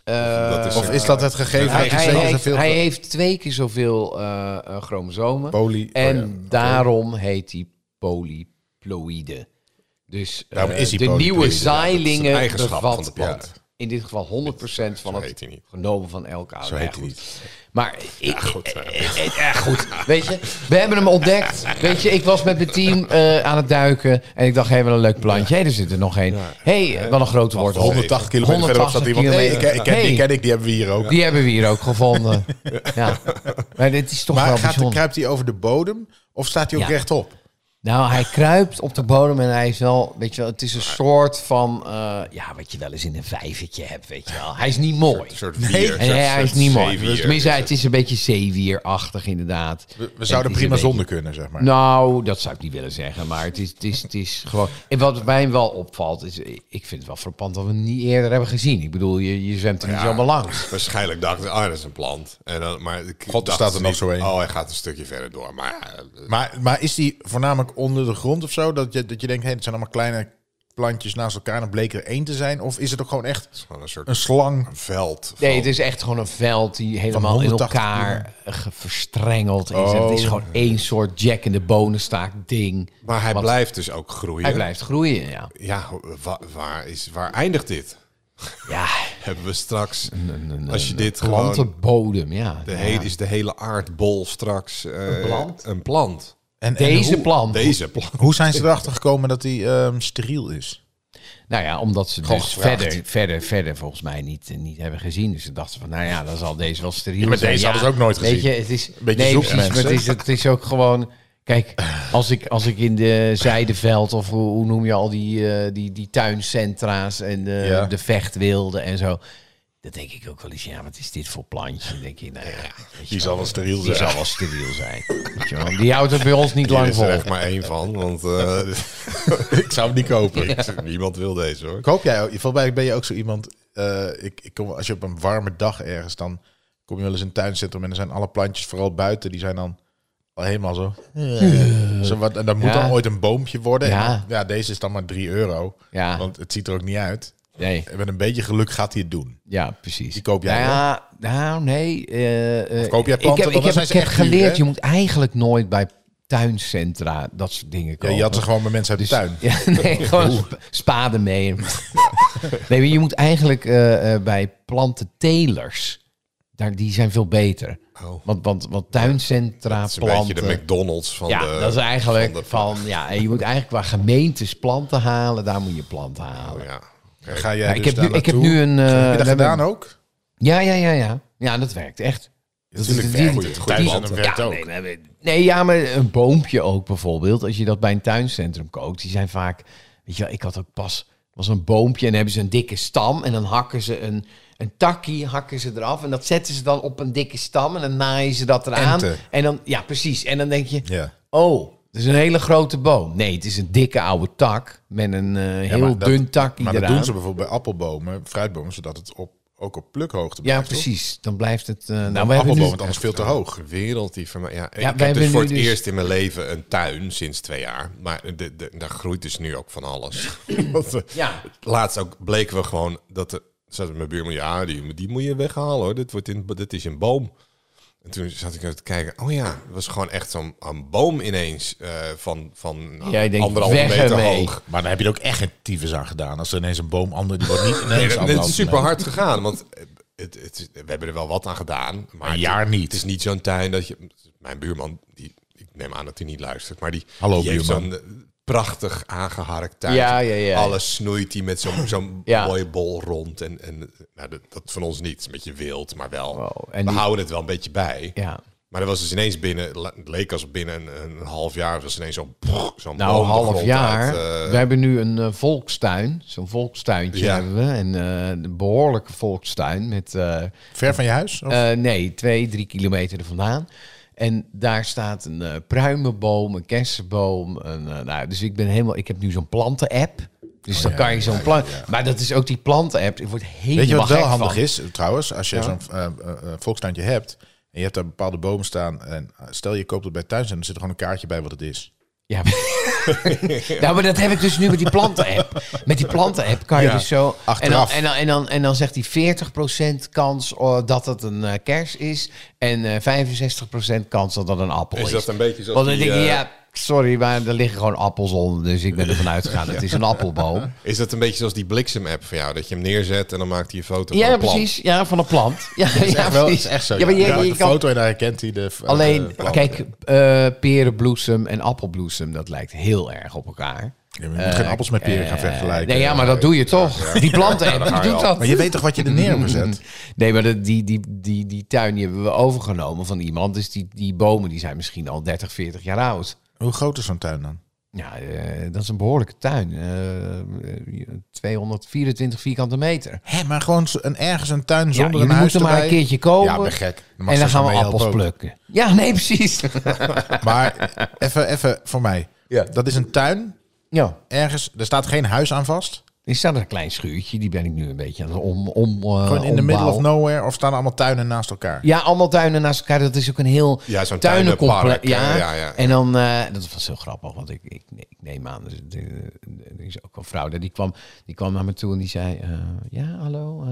Speaker 2: dat is,
Speaker 3: Of is dat het gegeven
Speaker 4: hij,
Speaker 3: dat hij
Speaker 4: hij
Speaker 3: zeker
Speaker 4: heeft,
Speaker 3: zoveel...
Speaker 4: hij heeft twee keer zoveel eh, eh, chromosomen.
Speaker 3: Poly- oh
Speaker 4: en
Speaker 3: ja, oké.
Speaker 4: daarom heet hij polyploïde. Dus eh,
Speaker 3: Daarom is hij
Speaker 4: de
Speaker 3: polyploïde,
Speaker 4: nieuwe
Speaker 3: ja, dat
Speaker 2: is een
Speaker 4: zaailingen
Speaker 2: eigenschap van
Speaker 4: bevat
Speaker 2: de plant.
Speaker 4: ja, in dit geval 100% van
Speaker 2: heet
Speaker 4: het
Speaker 2: hij niet.
Speaker 4: genomen van elke oude.
Speaker 3: Zo heet hij
Speaker 4: goed.
Speaker 3: niet. eh,
Speaker 4: Maar ik, goed, goed. Weet je, we hebben hem ontdekt. Weet je, ik was met mijn team eh, aan het duiken. En ik dacht, hé, wat een leuk plantje. Hé, er zit er nog één. Hé, wat een grote wortel.
Speaker 3: 180 kilometer verderop zat
Speaker 4: 180
Speaker 3: iemand. Hey, ik,
Speaker 4: kilometer.
Speaker 3: ik ken
Speaker 4: Hey.
Speaker 3: die, ken ik, die hebben we hier ook.
Speaker 4: Die hebben we hier ook gevonden. Ja. Maar dit is toch
Speaker 3: Maar
Speaker 4: wel
Speaker 3: gaat de,
Speaker 4: bijzonder.
Speaker 3: kruipt hij over de bodem of staat hij ook
Speaker 4: Ja.
Speaker 3: rechtop?
Speaker 4: Nou, hij kruipt op de bodem en hij is wel, weet je wel, het is een soort van, eh, ja, wat je wel eens in een vijvertje hebt, weet je wel. Hij is niet mooi.
Speaker 2: een soort vier.
Speaker 4: En hij, hij is niet mooi.
Speaker 2: Zeewier.
Speaker 4: Tenminste, het is een beetje zeewierachtig inderdaad.
Speaker 3: We, we
Speaker 4: Het is
Speaker 3: zouden
Speaker 4: een
Speaker 3: prima
Speaker 4: beetje-
Speaker 3: zonder kunnen, zeg maar.
Speaker 4: Nou, dat zou ik niet willen zeggen, maar het is, het is, het is gewoon... En wat mij wel opvalt, is, ik vind het wel frappant dat we hem niet eerder hebben gezien. Ik bedoel, je, je zwemt er niet zomaar langs.
Speaker 2: Waarschijnlijk dacht ik, ah, dat is een plant. En dan, maar ik
Speaker 3: God, er
Speaker 2: dacht
Speaker 3: staat er nog
Speaker 2: niet,
Speaker 3: zo een.
Speaker 2: Oh, hij gaat een stukje verder door. Maar eh,
Speaker 3: Maar, maar is die voornamelijk onder de grond of zo? Dat je, dat je denkt, hé, het zijn allemaal kleine plantjes naast elkaar en bleek er één te zijn? Of is het ook gewoon echt
Speaker 2: gewoon een soort
Speaker 3: een slang?
Speaker 2: veld.
Speaker 4: Nee,
Speaker 2: van-
Speaker 4: het is echt gewoon een veld die helemaal in
Speaker 3: 180
Speaker 4: elkaar ge- verstrengeld is. En het is gewoon één soort Jack in de bonenstaak ding.
Speaker 2: Oh. maar hij
Speaker 4: Want
Speaker 2: blijft dus ook groeien.
Speaker 4: Hij blijft groeien, ja.
Speaker 2: Ja, ho- wa- waar, is, waar eindigt dit?
Speaker 4: Ja,
Speaker 2: Hebben we straks, als je dit gewoon...
Speaker 4: plantenbodem, ja.
Speaker 2: De
Speaker 4: Ja.
Speaker 2: hele, Is de hele aardbol straks eh, een
Speaker 4: plant?
Speaker 2: Een plant.
Speaker 3: En, en
Speaker 4: Deze
Speaker 3: hoe,
Speaker 4: plant.
Speaker 2: Deze plant.
Speaker 3: hoe zijn ze erachter gekomen dat hij ehm, steriel is?
Speaker 4: Nou ja, omdat ze dus
Speaker 3: gevraagd.
Speaker 4: verder, verder, verder volgens mij niet, eh, niet hebben gezien. Dus ze dachten van, nou ja, dan zal deze wel steriel
Speaker 3: maar
Speaker 4: zijn.
Speaker 3: deze
Speaker 4: ja,
Speaker 3: hadden ze ook nooit
Speaker 4: weet
Speaker 3: gezien.
Speaker 4: Je, het is,
Speaker 3: Beetje
Speaker 4: nee,
Speaker 3: zoekmensen.
Speaker 4: precies, maar het is, het is ook gewoon... Kijk, als ik, als ik in de Zijdeveld of hoe, hoe noem je al die, eh, die, die tuincentra's en de,
Speaker 3: Ja.
Speaker 4: de vechtwilden en zo. Dan denk ik ook wel eens, ja, wat is dit voor plantje? Dan denk je, nou ja, weet je
Speaker 3: Die zal wel steriel
Speaker 4: die
Speaker 3: zijn.
Speaker 4: zal wel steriel zijn. Weet je wel. Die houdt er bij ons niet
Speaker 2: Hier
Speaker 4: lang
Speaker 2: is er
Speaker 4: vol.
Speaker 2: echt maar één van, want eh,
Speaker 3: Ik zou hem niet kopen.
Speaker 2: niemand wil deze hoor.
Speaker 3: Ik hoop jij, volgens mij ben je ook zo iemand. eh, ik, ik kom, als je op een warme dag ergens, dan kom je wel eens in een tuincentrum en dan zijn alle plantjes, vooral buiten, die zijn dan al helemaal zo. zo wat, en dat moet
Speaker 4: Ja.
Speaker 3: dan ooit een boompje worden. En
Speaker 4: Ja.
Speaker 3: dan- ja, deze is dan maar 3 euro.
Speaker 4: Ja.
Speaker 3: Want het ziet er ook niet uit.
Speaker 4: Nee,
Speaker 3: En met een beetje geluk gaat hij het doen.
Speaker 4: ja, precies.
Speaker 3: Die koop jij
Speaker 4: nou, ja, nou, nee. eh, eh,
Speaker 3: koop jij
Speaker 4: ik
Speaker 3: planten,
Speaker 4: heb,
Speaker 3: want dan
Speaker 4: ik heb,
Speaker 3: zijn
Speaker 4: ik
Speaker 3: ze
Speaker 4: heb
Speaker 3: echt duur,
Speaker 4: geleerd,
Speaker 3: hè?
Speaker 4: je moet eigenlijk nooit bij tuincentra dat soort dingen
Speaker 3: Ja,
Speaker 4: kopen. Dus-
Speaker 3: je had ze gewoon bij mensen uit de tuin.
Speaker 4: Ja, nee, gewoon sp- spaden mee. nee, maar je moet eigenlijk eh, eh, bij plantentelers, daar, die zijn veel beter.
Speaker 2: Oh.
Speaker 4: Want, want, want tuincentra,
Speaker 2: Het is een
Speaker 4: planten...
Speaker 2: beetje de McDonald's van
Speaker 4: ja,
Speaker 2: de...
Speaker 3: eh,
Speaker 4: dat is eigenlijk
Speaker 2: van
Speaker 4: van,
Speaker 2: de-
Speaker 4: ja, en je moet eigenlijk qua gemeentes planten halen, daar moet je planten halen.
Speaker 2: Ja.
Speaker 3: Dan ga jij
Speaker 4: Ja,
Speaker 3: Oh, dus
Speaker 4: Nou,
Speaker 3: daar
Speaker 4: ik, heb nu, ik heb
Speaker 3: naartoe.
Speaker 4: nu een... eh,
Speaker 3: heb je dat
Speaker 4: we hebben-
Speaker 3: gedaan ook?
Speaker 4: Ja, ja, ja, ja. Ja, dat werkt echt. Dat
Speaker 3: Natuurlijk
Speaker 4: is-
Speaker 3: werkt
Speaker 4: die-
Speaker 3: het.
Speaker 4: die-
Speaker 3: Tuincentrum
Speaker 4: die-
Speaker 3: werkt
Speaker 4: ja,
Speaker 3: ook.
Speaker 4: nee, maar- Nee, ja, maar een boompje ook bijvoorbeeld. Als je dat bij een tuincentrum kookt, die zijn vaak... Weet je wel, ik had ook pas... was een boompje en dan hebben ze een dikke stam. En dan hakken ze een, een takkie, hakken ze eraf. En dat zetten ze dan op een dikke stam. En dan naaien ze dat eraan.
Speaker 3: Enten.
Speaker 4: En dan, ja, precies. En dan denk je,
Speaker 3: Ja.
Speaker 4: oh, het is een hele grote boom. Nee, het is een dikke oude tak met een eh,
Speaker 3: Ja,
Speaker 4: heel
Speaker 3: maar dat-
Speaker 4: dun takje
Speaker 3: Maar dat
Speaker 4: eraan.
Speaker 3: doen ze bijvoorbeeld bij appelbomen, fruitbomen, zodat het op, ook op plukhoogte
Speaker 4: ja,
Speaker 3: blijft. toch?
Speaker 4: precies. Dan blijft het... eh, nou, we hebben
Speaker 3: Appelboom,
Speaker 4: nu-
Speaker 3: want anders veel te hoog.
Speaker 2: Wereld die verma- Ja,
Speaker 4: wij
Speaker 2: ik heb
Speaker 4: hebben
Speaker 2: dus voor
Speaker 4: nu
Speaker 2: het
Speaker 4: dus-
Speaker 2: eerst in mijn leven een tuin sinds twee jaar. Maar de, de, daar groeit dus nu ook van alles. Want, eh,
Speaker 4: Ja.
Speaker 2: Laatst ook bleken we gewoon dat de, zat mijn buurman, ja, die, die moet je weghalen hoor. Dit, wordt in, dit is een boom. En toen zat ik naar te kijken, oh ja, het was gewoon echt zo'n een boom ineens eh, van, van nou,
Speaker 4: Jij denkt,
Speaker 2: anderhalve
Speaker 4: weg
Speaker 2: meter
Speaker 4: ermee.
Speaker 2: hoog.
Speaker 3: Maar dan heb je er ook echt een tyfus aan gedaan. Als er ineens een boom ander die wordt niet ineens
Speaker 2: Nee, dat- dit
Speaker 3: anderhalve
Speaker 2: is super
Speaker 3: meter.
Speaker 2: hard gegaan, want eh, het, het, is- we hebben er wel wat aan gedaan. Maar
Speaker 3: Een jaar
Speaker 2: het-
Speaker 3: niet.
Speaker 2: Het is niet zo'n tuin dat je... Mijn buurman, die, ik neem aan dat hij niet luistert, maar die,
Speaker 3: Hallo,
Speaker 2: die heeft
Speaker 3: buurman.
Speaker 2: zo'n eh, prachtig aangeharkt tuin.
Speaker 4: Ja, ja, ja.
Speaker 2: Alles snoeit hij met zo'n zo'n
Speaker 4: Ja.
Speaker 2: mooie bol rond. En, en eh, nou, dat, dat van ons niet, Het is een beetje wild, maar wel.
Speaker 4: Wow, en
Speaker 2: We
Speaker 4: die-
Speaker 2: houden het wel een beetje bij.
Speaker 4: Ja.
Speaker 2: Maar dat was dus ineens binnen, la- het leek als binnen een, een half jaar, was ineens zo'n zo'n
Speaker 4: Nou,
Speaker 2: boom
Speaker 4: een
Speaker 2: de
Speaker 4: half
Speaker 2: grond
Speaker 4: jaar.
Speaker 2: uit, eh,
Speaker 4: we hebben nu een eh, volkstuin. Zo'n volkstuintje
Speaker 2: Ja.
Speaker 4: hebben we. En, eh, een behoorlijke volkstuin. Met, eh,
Speaker 3: Ver van je huis? Of?
Speaker 4: eh, nee, twee, drie kilometer er vandaan. En daar staat een eh, pruimenboom, een kersenboom. Een, eh, nou, dus ik ben helemaal. Ik heb nu zo'n planten-app. Dus dan kan je zo'n plant. Maar dat is ook die planten-app. Ik word helemaal
Speaker 3: Weet je wat wel
Speaker 4: gek
Speaker 3: handig
Speaker 4: van.
Speaker 3: is eh, trouwens? Als je zo'n eh, eh, eh, volkstuintje hebt en je hebt daar bepaalde bomen staan. En eh, stel je koopt het bij thuis en er zit er gewoon een kaartje bij wat het is.
Speaker 4: Ja. nou, maar dat heb ik dus nu met die planten-app. Met die planten-app kan je
Speaker 3: Ja,
Speaker 4: dus zo...
Speaker 3: achteraf.
Speaker 4: En dan, en, dan, en, dan, en dan zegt hij 40% kans eh, dat het een eh, kers is... en eh 65% kans dat dat een appel is.
Speaker 2: is dat een beetje zoals
Speaker 4: Want dan
Speaker 2: die,
Speaker 4: denk je,
Speaker 2: eh,
Speaker 4: ja, sorry, maar er liggen gewoon appels onder... dus ik ben ervan uitgegaan, het is een appelboom.
Speaker 2: Is dat een beetje zoals die bliksem-app van jou? Dat je hem neerzet en dan maakt hij een foto
Speaker 4: Ja,
Speaker 2: van een plant?
Speaker 4: precies. Ja, van een plant. Ja, ja,
Speaker 3: Echt wel,
Speaker 4: precies.
Speaker 3: is echt zo.
Speaker 4: Ja, maar je,
Speaker 3: Ja,
Speaker 4: je
Speaker 3: de
Speaker 4: kan-
Speaker 3: foto en daar herkent hij de.
Speaker 4: Alleen,
Speaker 3: eh,
Speaker 4: kijk, eh, perenbloesem en appelbloesem... dat lijkt heel erg op elkaar.
Speaker 3: Ja, maar je moet geen appels met peren gaan vergelijken.
Speaker 4: eh, Nee, ja, maar dat doe je toch. Die planten doet dat.
Speaker 3: Maar je weet toch wat je er neer hebt gezet?
Speaker 4: Nee, maar dat- die, die, die, die tuin die hebben we overgenomen van iemand. Dus die, die bomen die zijn misschien al 30, 40 jaar oud.
Speaker 3: Hoe groot is zo'n tuin dan?
Speaker 4: Ja, eh, dat is een behoorlijke tuin. Eh, 224 vierkante meter.
Speaker 3: Hé, maar gewoon zo- een, ergens een tuin
Speaker 4: Ja,
Speaker 3: zonder
Speaker 4: je
Speaker 3: een
Speaker 4: moet
Speaker 3: huis
Speaker 4: er maar
Speaker 3: erbij.
Speaker 4: een keertje komen.
Speaker 3: Ja, ben gek. Dan mag
Speaker 4: en dan
Speaker 3: ze
Speaker 4: gaan we
Speaker 3: mee helpen
Speaker 4: appels
Speaker 3: ook.
Speaker 4: plukken. Ja, nee, precies.
Speaker 3: Maar even, even voor mij.
Speaker 4: Ja.
Speaker 3: Dat is een tuin.
Speaker 4: ja,
Speaker 3: Ergens, er staat geen huis aan vast.
Speaker 4: er staat een klein schuurtje. Die ben ik nu een beetje aan het om, om, eh,
Speaker 3: Gewoon in de middle of
Speaker 4: ombouwen.
Speaker 3: nowhere. Of staan er allemaal tuinen naast elkaar?
Speaker 4: Ja, allemaal tuinen naast elkaar. Dat is ook een heel
Speaker 2: Ja, zo'n
Speaker 4: tuinencomplex.
Speaker 2: tuinenpark,
Speaker 4: Ja.
Speaker 2: eh, ja, ja.
Speaker 4: En dan, eh, dat was heel grappig, want ik, ik, ik neem aan, dus, het, eh, er is ook een vrouw daar, die kwam, die kwam naar me toe en die zei, eh, ja, hallo, eh,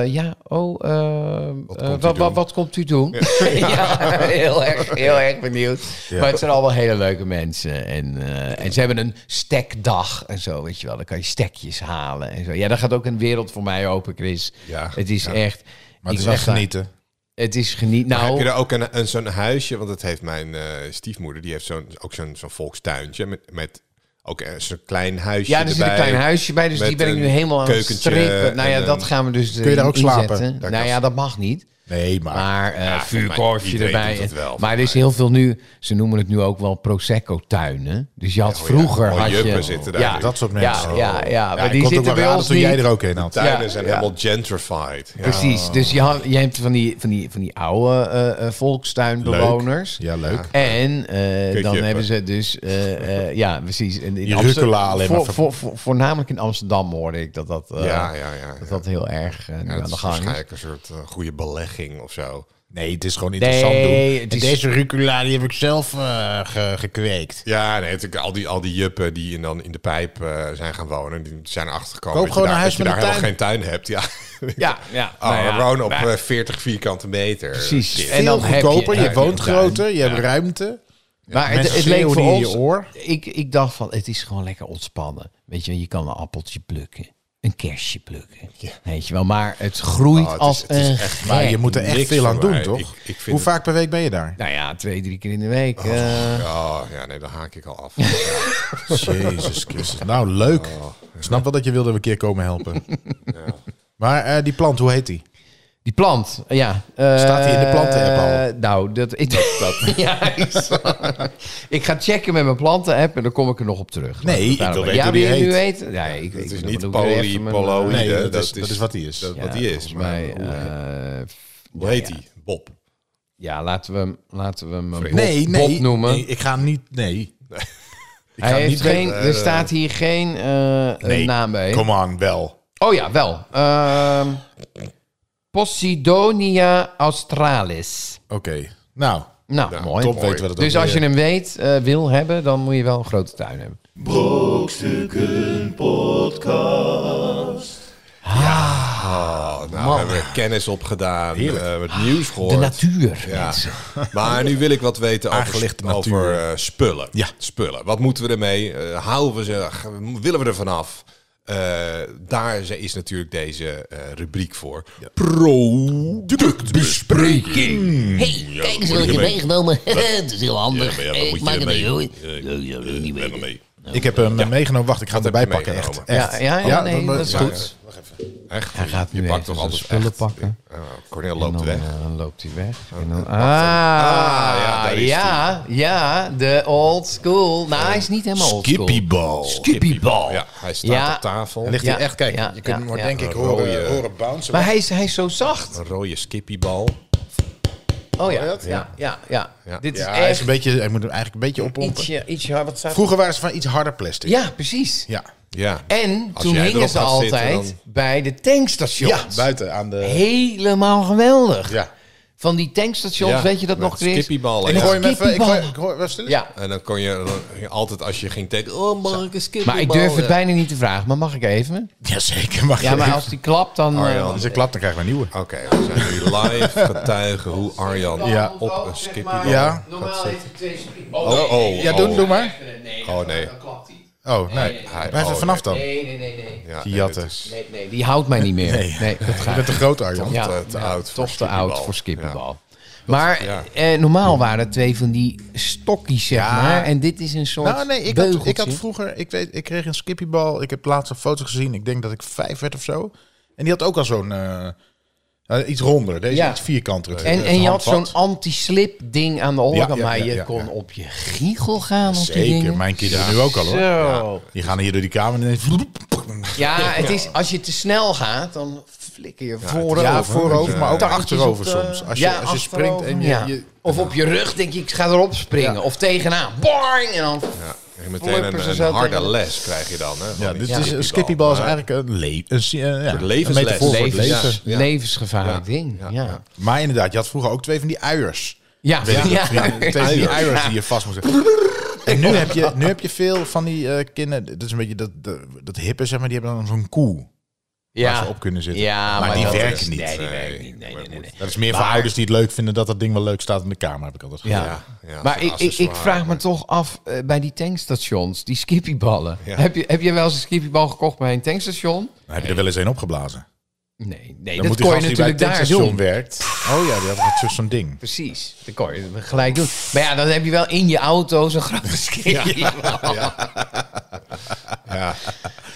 Speaker 4: eh, ja, oh, eh, eh, wat,
Speaker 2: komt u
Speaker 4: wat,
Speaker 2: doen?
Speaker 4: wat komt u doen? Ja, heel, erg, heel erg benieuwd. Maar het zijn allemaal hele leuke mensen. En, eh, en ze hebben een stekdag en zo, weet je wel. Dan kan je stekjes halen en zo. Ja, daar gaat ook een wereld voor mij open, Chris.
Speaker 2: Ja,
Speaker 4: het is echt...
Speaker 3: Maar het is
Speaker 4: ik
Speaker 3: echt
Speaker 4: was daar-
Speaker 3: genieten.
Speaker 4: het is geniet.
Speaker 2: Heb je
Speaker 4: Nou,
Speaker 2: daar ook een, een, zo'n huisje? Want dat heeft mijn eh, stiefmoeder. Die heeft zo'n, ook zo'n, zo'n volkstuintje met, met ook eh, zo'n klein huisje
Speaker 4: ja, er zit een
Speaker 2: erbij.
Speaker 4: klein huisje bij, dus
Speaker 2: Met
Speaker 4: die ben ik nu
Speaker 2: een
Speaker 4: helemaal aan het
Speaker 2: keukentje
Speaker 4: strippen. Nou ja,
Speaker 2: en
Speaker 4: dat
Speaker 2: een-
Speaker 4: gaan we dus eh,
Speaker 3: Kun je daar ook slapen?
Speaker 4: inzetten.
Speaker 2: Daar
Speaker 4: nou
Speaker 2: kan-
Speaker 4: ja, dat mag niet.
Speaker 3: Nee, maar,
Speaker 4: Maar eh vuurkorfje
Speaker 2: iedereen
Speaker 4: erbij.
Speaker 2: doet het wel,
Speaker 4: maar er is heel veel nu, ze noemen het nu ook wel Prosecco-tuinen. Dus je had vroeger...
Speaker 2: Mooie
Speaker 4: had je,
Speaker 2: juppen zitten daar nu.
Speaker 3: dat soort mensen.
Speaker 4: Ja, ja, ja, maar
Speaker 3: ik
Speaker 4: die
Speaker 3: kon het ook
Speaker 4: zitten
Speaker 3: wel
Speaker 4: bij
Speaker 3: raden
Speaker 4: ons
Speaker 3: toen jij
Speaker 4: niet.
Speaker 3: er ook in had.
Speaker 2: Tuinen
Speaker 4: Ja,
Speaker 2: zijn
Speaker 4: ja.
Speaker 2: helemaal gentrified. Ja.
Speaker 4: Precies, dus je, had, je hebt van die, van die, van die oude eh, eh, volkstuinbewoners.
Speaker 3: Ja, leuk.
Speaker 4: En eh, dan
Speaker 2: juppen.
Speaker 4: hebben ze dus, eh, eh, ja, precies. En in
Speaker 3: Die
Speaker 4: Amsterdam-
Speaker 3: rukkelen alleen maar
Speaker 4: voor-
Speaker 3: van-
Speaker 4: voor- voor- voornamelijk in Amsterdam hoorde ik dat dat, eh,
Speaker 2: Ja, ja, ja, ja.
Speaker 4: dat, dat heel erg eh, nu
Speaker 2: Ja,
Speaker 4: aan
Speaker 2: dat
Speaker 4: de
Speaker 2: is
Speaker 4: gang is.
Speaker 2: waarschijnlijk een soort eh, goede belegging of zo.
Speaker 3: Nee, het is gewoon interessant
Speaker 4: Nee,
Speaker 3: doen.
Speaker 4: het
Speaker 3: En
Speaker 4: is-
Speaker 3: Deze rucula die heb ik zelf eh, ge- gekweekt.
Speaker 2: Ja, nee, natuurlijk al die, al die juppen die in- dan in de pijp eh, zijn gaan wonen, die zijn achtergekomen
Speaker 3: Koop
Speaker 2: dat
Speaker 3: gewoon
Speaker 2: je
Speaker 3: een
Speaker 2: daar,
Speaker 3: huis
Speaker 2: dat je
Speaker 3: met een
Speaker 2: daar helemaal geen tuin hebt. Ja,
Speaker 4: Ja, ja.
Speaker 2: Oh,
Speaker 4: nou ja,
Speaker 2: we wonen op
Speaker 4: nou,
Speaker 2: eh, 40 vierkante meter.
Speaker 4: Precies.
Speaker 2: Shit.
Speaker 4: En
Speaker 3: Veel
Speaker 4: dan heb je-
Speaker 3: goedkoper, je,
Speaker 4: heb je
Speaker 3: woont
Speaker 4: een tuin.
Speaker 3: groter, je hebt ruimte.
Speaker 4: Maar het,
Speaker 3: Mensen
Speaker 4: het leek
Speaker 3: schreeuwen
Speaker 4: voor
Speaker 3: die in je
Speaker 4: ons...
Speaker 3: oor.
Speaker 4: Ik, ik dacht van, het is gewoon lekker ontspannen. Weet je, je kan een appeltje plukken. Een kerstje plukken. Weet je wel, maar het groeit
Speaker 2: Oh, het is-
Speaker 4: als
Speaker 2: het is
Speaker 4: een
Speaker 2: echt-
Speaker 3: Maar
Speaker 4: gek.
Speaker 3: je moet er echt
Speaker 2: niks
Speaker 3: veel aan
Speaker 2: voor
Speaker 3: doen,
Speaker 2: mij.
Speaker 3: toch?
Speaker 2: Ik- ik vind
Speaker 3: Hoe
Speaker 2: het-
Speaker 3: vaak per week ben je daar?
Speaker 4: Nou ja, twee, drie keer in de week. eh.
Speaker 2: Oh, ja, nee, dan haak ik al af.
Speaker 3: Jezus Christus. Nou, leuk. Ik snap wel dat je wilde een keer komen helpen. Maar eh, die plant, hoe heet die?
Speaker 4: die plant, eh, ja.
Speaker 3: Staat die in de
Speaker 4: planten
Speaker 3: planten-app al?
Speaker 4: Nou, dat... Ik, ja, ik, ik ga checken met mijn planten-app en dan kom ik er nog op terug.
Speaker 3: Nee, ik wil
Speaker 4: Daarom-
Speaker 3: weten
Speaker 4: ja,
Speaker 3: hoe die
Speaker 4: wil je nu
Speaker 3: heet.
Speaker 4: weten? Nee, ik,
Speaker 2: Het
Speaker 4: ik-
Speaker 2: is
Speaker 4: dan
Speaker 2: niet
Speaker 4: moet ik weer even mijn, eh,
Speaker 2: polypoloïde.
Speaker 3: Nee, dat is- dat is wat die is.
Speaker 2: dat-
Speaker 4: ja,
Speaker 2: wat die is.
Speaker 4: volgens
Speaker 2: Maar
Speaker 4: mij,
Speaker 2: hoe,
Speaker 4: eh,
Speaker 2: hoe heet die? Bob.
Speaker 4: Ja, laten we hem, laten we hem Bob,
Speaker 3: Nee, nee.
Speaker 4: Bob noemen.
Speaker 3: nee, ik ga niet. Nee. Ik
Speaker 4: Hij heeft geen,
Speaker 3: weten- eh,
Speaker 4: er staat hier geen eh,
Speaker 3: Nee,
Speaker 4: naam bij.
Speaker 3: Come on, wel.
Speaker 4: Oh ja, wel. Ehm, Posidonia australis.
Speaker 3: Oké. Nou,
Speaker 4: Nou, mooi.
Speaker 3: top weten we dat
Speaker 4: Dus
Speaker 3: ook
Speaker 4: als je
Speaker 3: weer.
Speaker 4: hem weet, eh, wil hebben, dan moet je wel een grote tuin hebben.
Speaker 1: Brokstukken podcast.
Speaker 2: Oh, nou, we hebben we kennis opgedaan. eh het nieuws gehoord.
Speaker 4: De natuur.
Speaker 2: Ja. Maar nu wil ik wat weten over,
Speaker 3: Aangelichte natuur.
Speaker 2: over eh, spullen.
Speaker 3: Ja.
Speaker 2: Spullen. Wat moeten we ermee? Eh, houden we ze? G- Willen we er vanaf? Eh, daar ze- is natuurlijk deze eh, rubriek voor. Productbespreking.
Speaker 5: hey, kijk eens wat ik heb meegenomen. Het is heel handig.
Speaker 2: Ja, maar ja, wat
Speaker 5: Hey,
Speaker 2: moet
Speaker 5: ik
Speaker 2: je
Speaker 5: maak het mee,
Speaker 2: ermee?
Speaker 5: hoor.
Speaker 2: Ja, ik-
Speaker 5: Dat zou ik niet
Speaker 2: Ik ben
Speaker 5: weten.
Speaker 2: ermee.
Speaker 3: ik heb hem meegenomen. Wacht, ik ga het
Speaker 2: heb je
Speaker 3: erbij pakken. Echt.
Speaker 2: meegenomen?
Speaker 4: Ja,
Speaker 3: echt. eh,
Speaker 4: ja, ja, nee, dat is goed.
Speaker 2: Echt?
Speaker 4: Hij gaat
Speaker 2: je
Speaker 4: nu
Speaker 2: pakt toch
Speaker 4: even zijn
Speaker 2: altijd
Speaker 4: spullen
Speaker 2: echt?
Speaker 4: pakken.
Speaker 2: Eh, Cornel
Speaker 4: En
Speaker 2: loopt
Speaker 4: dan,
Speaker 2: weg.
Speaker 4: eh, dan loopt hij weg. En dan, ah,
Speaker 2: ja,
Speaker 3: Ah,
Speaker 4: ja,
Speaker 2: daar is
Speaker 4: ja, de old school. Nou, hij is niet helemaal old school.
Speaker 3: Skippyball.
Speaker 4: Skippyball.
Speaker 2: Ja, hij staat
Speaker 4: Ja.
Speaker 2: op tafel.
Speaker 3: Dan ligt
Speaker 4: Ja,
Speaker 3: hij echt, kijk,
Speaker 4: ja,
Speaker 3: je kunt
Speaker 4: ja,
Speaker 3: hem maar
Speaker 4: ja.
Speaker 3: denk ik
Speaker 2: Een
Speaker 3: horen,
Speaker 2: rode-
Speaker 3: horen bouncen.
Speaker 4: Maar hij is, hij is zo zacht.
Speaker 2: Een rode skippiebal.
Speaker 4: Oh ja, ja, ja, ja.
Speaker 2: Ja.
Speaker 4: Dit is
Speaker 3: ja, hij is
Speaker 4: echt
Speaker 3: een beetje, hij moet hem eigenlijk een beetje oppompen.
Speaker 4: ietsje, ietsje hard. Wat staat
Speaker 3: Vroeger waren ze van iets harder plastic.
Speaker 4: Ja, precies.
Speaker 3: Ja,
Speaker 2: Ja.
Speaker 4: En
Speaker 2: Als
Speaker 4: toen
Speaker 2: jij
Speaker 4: hingen
Speaker 2: erop
Speaker 4: ze
Speaker 2: gaat
Speaker 4: altijd
Speaker 2: zitten,
Speaker 4: bij de tankstations.
Speaker 3: Ja, buiten aan de...
Speaker 4: Helemaal geweldig.
Speaker 3: Ja.
Speaker 4: Van die tankstations,
Speaker 2: Ja,
Speaker 4: weet je dat
Speaker 2: met
Speaker 4: nog, Chris?
Speaker 2: skippieballen,
Speaker 3: Ik
Speaker 2: ja.
Speaker 3: gooi hem even... Ik gooi,
Speaker 4: Skippyballen.
Speaker 3: ik gooi, wacht, stil.
Speaker 4: Ja,
Speaker 2: En dan kon je dan- altijd als je ging tekenen. Oh, mag ik een skippiebal?
Speaker 4: maar ik durf het bijna niet te vragen. Maar mag ik even?
Speaker 3: Jazeker, mag
Speaker 4: Ja, maar als die klapt, dan... eh,
Speaker 2: Arjan.
Speaker 3: Als je klapt, dan krijgen we een nieuwe.
Speaker 2: Oké, we zijn nu live getuigen hoe Arjan
Speaker 3: Ja.
Speaker 2: op een skippiebal
Speaker 3: Ja.
Speaker 4: Normaal heeft het twee skippieballen.
Speaker 2: Oh, oh,
Speaker 3: Ja,
Speaker 2: oh.
Speaker 3: doe, doe maar.
Speaker 4: Nee,
Speaker 2: Oh, nee.
Speaker 4: klapt hij.
Speaker 3: Oh, nee.
Speaker 2: Hij-
Speaker 3: Blijf er
Speaker 2: oh,
Speaker 3: vanaf dan.
Speaker 4: Nee, nee, nee, nee.
Speaker 2: Ja,
Speaker 3: Die
Speaker 2: nee,
Speaker 3: jatten.
Speaker 2: dit is
Speaker 4: Nee, nee, die houdt mij niet meer. Nee,
Speaker 3: Nee.
Speaker 4: dat
Speaker 3: Je
Speaker 4: gaat
Speaker 3: bent te groot, Arjan.
Speaker 4: Ja,
Speaker 2: te- te
Speaker 4: ja,
Speaker 2: oud voor
Speaker 4: toch te oud
Speaker 2: skippiebal.
Speaker 4: voor skippiebal. Maar
Speaker 2: ja.
Speaker 4: eh, normaal waren het twee van die stokjes, zeg maar. En dit is een soort
Speaker 3: Nou, nee, ik had, ik had
Speaker 4: beugeltje.
Speaker 3: vroeger... Ik, weet, ik kreeg een skippybal. Ik heb laatst een foto gezien. Ik denk dat ik vijf werd of zo. En die had ook al zo'n... eh, eh, iets ronder. Deze
Speaker 4: Ja.
Speaker 3: iets vierkanter. Het-
Speaker 4: En,
Speaker 3: het
Speaker 4: en je had zo'n
Speaker 3: handvat.
Speaker 4: anti-slip ding aan de onderkant,
Speaker 3: ja,
Speaker 4: maar
Speaker 3: ja,
Speaker 4: je
Speaker 3: ja,
Speaker 4: kon
Speaker 3: ja.
Speaker 4: op je giegel gaan op die
Speaker 3: Zeker,
Speaker 4: dingen.
Speaker 3: mijn kinderen nu ook al, hoor.
Speaker 4: Zo.
Speaker 3: Die gaan hier door die kamer en ineens...
Speaker 4: Ja, het is, als je te snel gaat, dan flikker je voorover.
Speaker 3: Ja, voorover, maar ook
Speaker 4: Tactisch
Speaker 3: achterover
Speaker 4: op de-
Speaker 3: soms. Als je,
Speaker 4: Ja,
Speaker 3: als je
Speaker 4: achterover,
Speaker 3: springt en je...
Speaker 4: ja.
Speaker 3: je-
Speaker 4: of op je rug denk je, ik ga erop springen. Of tegenaan. Boing! En dan...
Speaker 2: Ja, en meteen
Speaker 4: Flippers
Speaker 2: een,
Speaker 4: en
Speaker 2: een
Speaker 4: zo
Speaker 2: harde
Speaker 4: tegen-
Speaker 2: les krijg je dan. Hè, van
Speaker 3: ja,
Speaker 2: die
Speaker 3: dit
Speaker 4: Ja.
Speaker 3: is een skippybal is
Speaker 2: Maar-
Speaker 3: eigenlijk een, le een, si- eh, ja, een
Speaker 2: levensles.
Speaker 3: metafoor voor het
Speaker 4: Levens-
Speaker 3: leven.
Speaker 2: Ja.
Speaker 4: Levensgevaarlijk
Speaker 2: Ja.
Speaker 4: ding. Ja. Ja.
Speaker 3: Maar inderdaad, je had vroeger ook twee van die uiers.
Speaker 4: Ja.
Speaker 3: Weet je dat?
Speaker 4: Ah, Ja.
Speaker 3: Twee van die uiers die je vast moest En nu heb, je, nu heb je veel van die eh, kinderen... Dat is een beetje dat, dat, dat hippe, zeg maar. Die hebben dan zo'n koe waar ze op kunnen zitten.
Speaker 4: Ja,
Speaker 3: maar, die
Speaker 4: dat
Speaker 3: werken
Speaker 4: is-
Speaker 3: niet.
Speaker 4: Nee, die
Speaker 2: Nee,
Speaker 4: werken niet. Nee, nee, nee, nee.
Speaker 3: Dat is meer voor ouders die het leuk vinden dat dat ding wel leuk staat in de kamer, heb ik altijd
Speaker 4: Ja.
Speaker 3: gezegd.
Speaker 2: ja,
Speaker 4: maar
Speaker 2: zo'n
Speaker 4: ik, ik, ik
Speaker 2: accessoire,
Speaker 4: vraag me
Speaker 2: maar-
Speaker 4: toch af eh, bij die tankstations, die skippyballen. Heb, je, heb je wel eens een skippybal gekocht bij een tankstation?
Speaker 3: Dan heb je er wel eens een opgeblazen.
Speaker 4: Nee, nee
Speaker 3: Dan
Speaker 4: dat
Speaker 3: moet die
Speaker 4: kon je
Speaker 3: gast die bij
Speaker 4: natuurlijk
Speaker 3: het
Speaker 4: daar
Speaker 3: tankstation
Speaker 4: doen.
Speaker 3: werkt. Oh ja, die had altijd zo'n ding.
Speaker 4: Precies, dat kon je gelijk doen. Maar ja, dan heb je wel in je auto zo'n grote skippybal.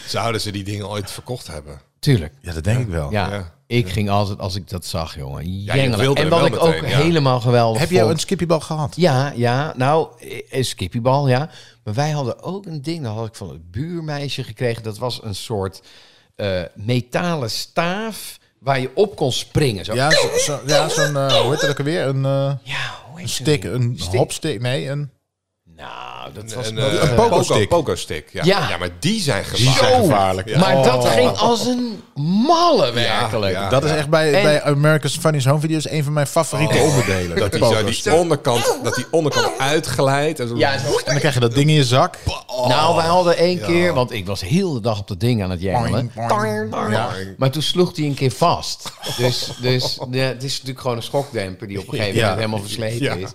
Speaker 2: Zouden ze die dingen ooit verkocht hebben?
Speaker 4: Tuurlijk.
Speaker 3: Ja, dat denk ik wel.
Speaker 4: Ja.
Speaker 2: Ja.
Speaker 4: Ik ging altijd, als ik dat zag, jongen,
Speaker 2: je
Speaker 4: jengelen.
Speaker 2: wilde
Speaker 4: en
Speaker 2: er
Speaker 4: wat
Speaker 2: wel
Speaker 4: ik ook
Speaker 2: meteen, ja.
Speaker 4: helemaal geweldig
Speaker 3: Heb jij
Speaker 4: vond-
Speaker 3: een skippiebal gehad?
Speaker 4: Ja, ja. Nou, eh, skippiebal, ja. Maar wij hadden ook een ding, dat had ik van het buurmeisje gekregen. Dat was een soort eh, metalen staaf waar je op kon springen. Zo.
Speaker 3: Ja, zo- zo- ja, zo'n, eh, hoe heet dat ook alweer? Een, eh,
Speaker 4: Ja, hoe
Speaker 3: een
Speaker 4: heet
Speaker 3: stick,
Speaker 4: dat?
Speaker 3: een
Speaker 4: Stick.
Speaker 3: hopstick, nee, een...
Speaker 4: Nou, dat was...
Speaker 2: Een,
Speaker 4: wel-
Speaker 2: eh,
Speaker 3: een
Speaker 2: een
Speaker 3: pogo-stick.
Speaker 2: pogo- pogo-stick. ja.
Speaker 4: Ja.
Speaker 2: ja. maar die zijn
Speaker 3: Die
Speaker 2: gevaarlijk.
Speaker 3: zijn gevaarlijk.
Speaker 2: Ja.
Speaker 4: Maar dat
Speaker 3: Oh.
Speaker 4: ging als een malle, werkelijk.
Speaker 2: ja.
Speaker 3: Dat is echt bij,
Speaker 4: En- Oh.
Speaker 3: bij America's Funniest Home Videos een van mijn favoriete onderdelen.
Speaker 2: Dat die,
Speaker 3: pogo
Speaker 2: zo die,
Speaker 3: stick.
Speaker 2: onderkant, dat die onderkant uitglijdt. En zo- Oh,
Speaker 4: Ja, zo-
Speaker 3: En dan krijg je dat ding in je zak.
Speaker 4: nou, wij hadden één keer, want ik was heel de dag op dat ding aan het jengelen.
Speaker 3: Boing, boing. Ja.
Speaker 4: Maar toen sloeg hij een keer vast. Dus, dus ja, het is natuurlijk gewoon een schokdemper die op een gegeven moment
Speaker 3: Ja.
Speaker 4: helemaal versleten
Speaker 3: Ja.
Speaker 4: is.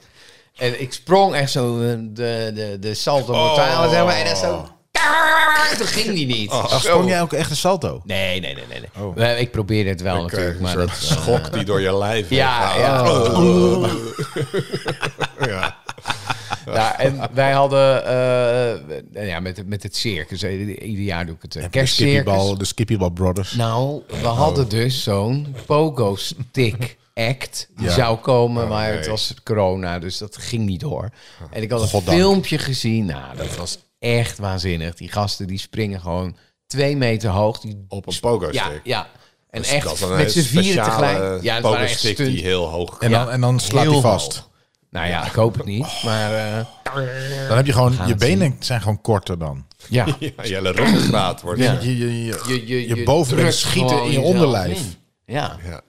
Speaker 4: En ik sprong echt zo eh, de, de, de salto mortale, zeg maar. En dan zo... Toen ging die niet.
Speaker 3: Ach, sprong jij ook echt een salto?
Speaker 4: Nee, nee, nee, nee. nee. Maar Ik probeerde het wel
Speaker 2: Oké,
Speaker 4: natuurlijk,
Speaker 2: eh, een
Speaker 4: maar...
Speaker 2: soort
Speaker 4: dat-
Speaker 2: schok die door je lijf
Speaker 4: ja,
Speaker 2: heen
Speaker 4: ja. Oh.
Speaker 2: gaat.
Speaker 4: Ja, en wij hadden... eh, nou ja, met, het- met het circus. eh, Ieder jaar doe ik het eh,
Speaker 3: De
Speaker 4: kerstcircus.
Speaker 3: skippiebal, de skippiebal brothers.
Speaker 4: Nou, we
Speaker 2: Oh.
Speaker 4: hadden dus zo'n pogo stick act die zou
Speaker 2: Oh,
Speaker 4: komen, maar het was corona, dus dat ging niet door. En ik had een
Speaker 3: Goddank.
Speaker 4: filmpje gezien. Nou, dat was echt waanzinnig. Die gasten die springen gewoon twee meter hoog. Die,
Speaker 2: Op een pogo-stick.
Speaker 4: ja, ja. En
Speaker 2: Dus
Speaker 4: echt
Speaker 2: dat was een
Speaker 4: met z'n vieren
Speaker 2: speciale
Speaker 4: tegelijk. Ja, dat waren echt
Speaker 2: pogo-stick die
Speaker 4: stunt.
Speaker 2: heel hoog
Speaker 3: En dan, en dan slaat
Speaker 4: heel
Speaker 3: hij vast.
Speaker 4: hoog. Nou ja, ik hoop het
Speaker 2: Oh.
Speaker 4: niet, maar eh,
Speaker 3: Dan heb je gewoon, je
Speaker 4: het
Speaker 3: benen zijn gewoon korter dan.
Speaker 4: ja.
Speaker 2: Ja, je hele ruggengraat wordt.
Speaker 4: Ja.
Speaker 2: Ja.
Speaker 3: Je, je, je,
Speaker 4: Je,
Speaker 3: je bovenbenen
Speaker 4: drukt
Speaker 3: schieten
Speaker 4: gewoon
Speaker 3: in je
Speaker 4: jezelf
Speaker 3: onderlijf.
Speaker 4: in. Ja.
Speaker 2: Ja.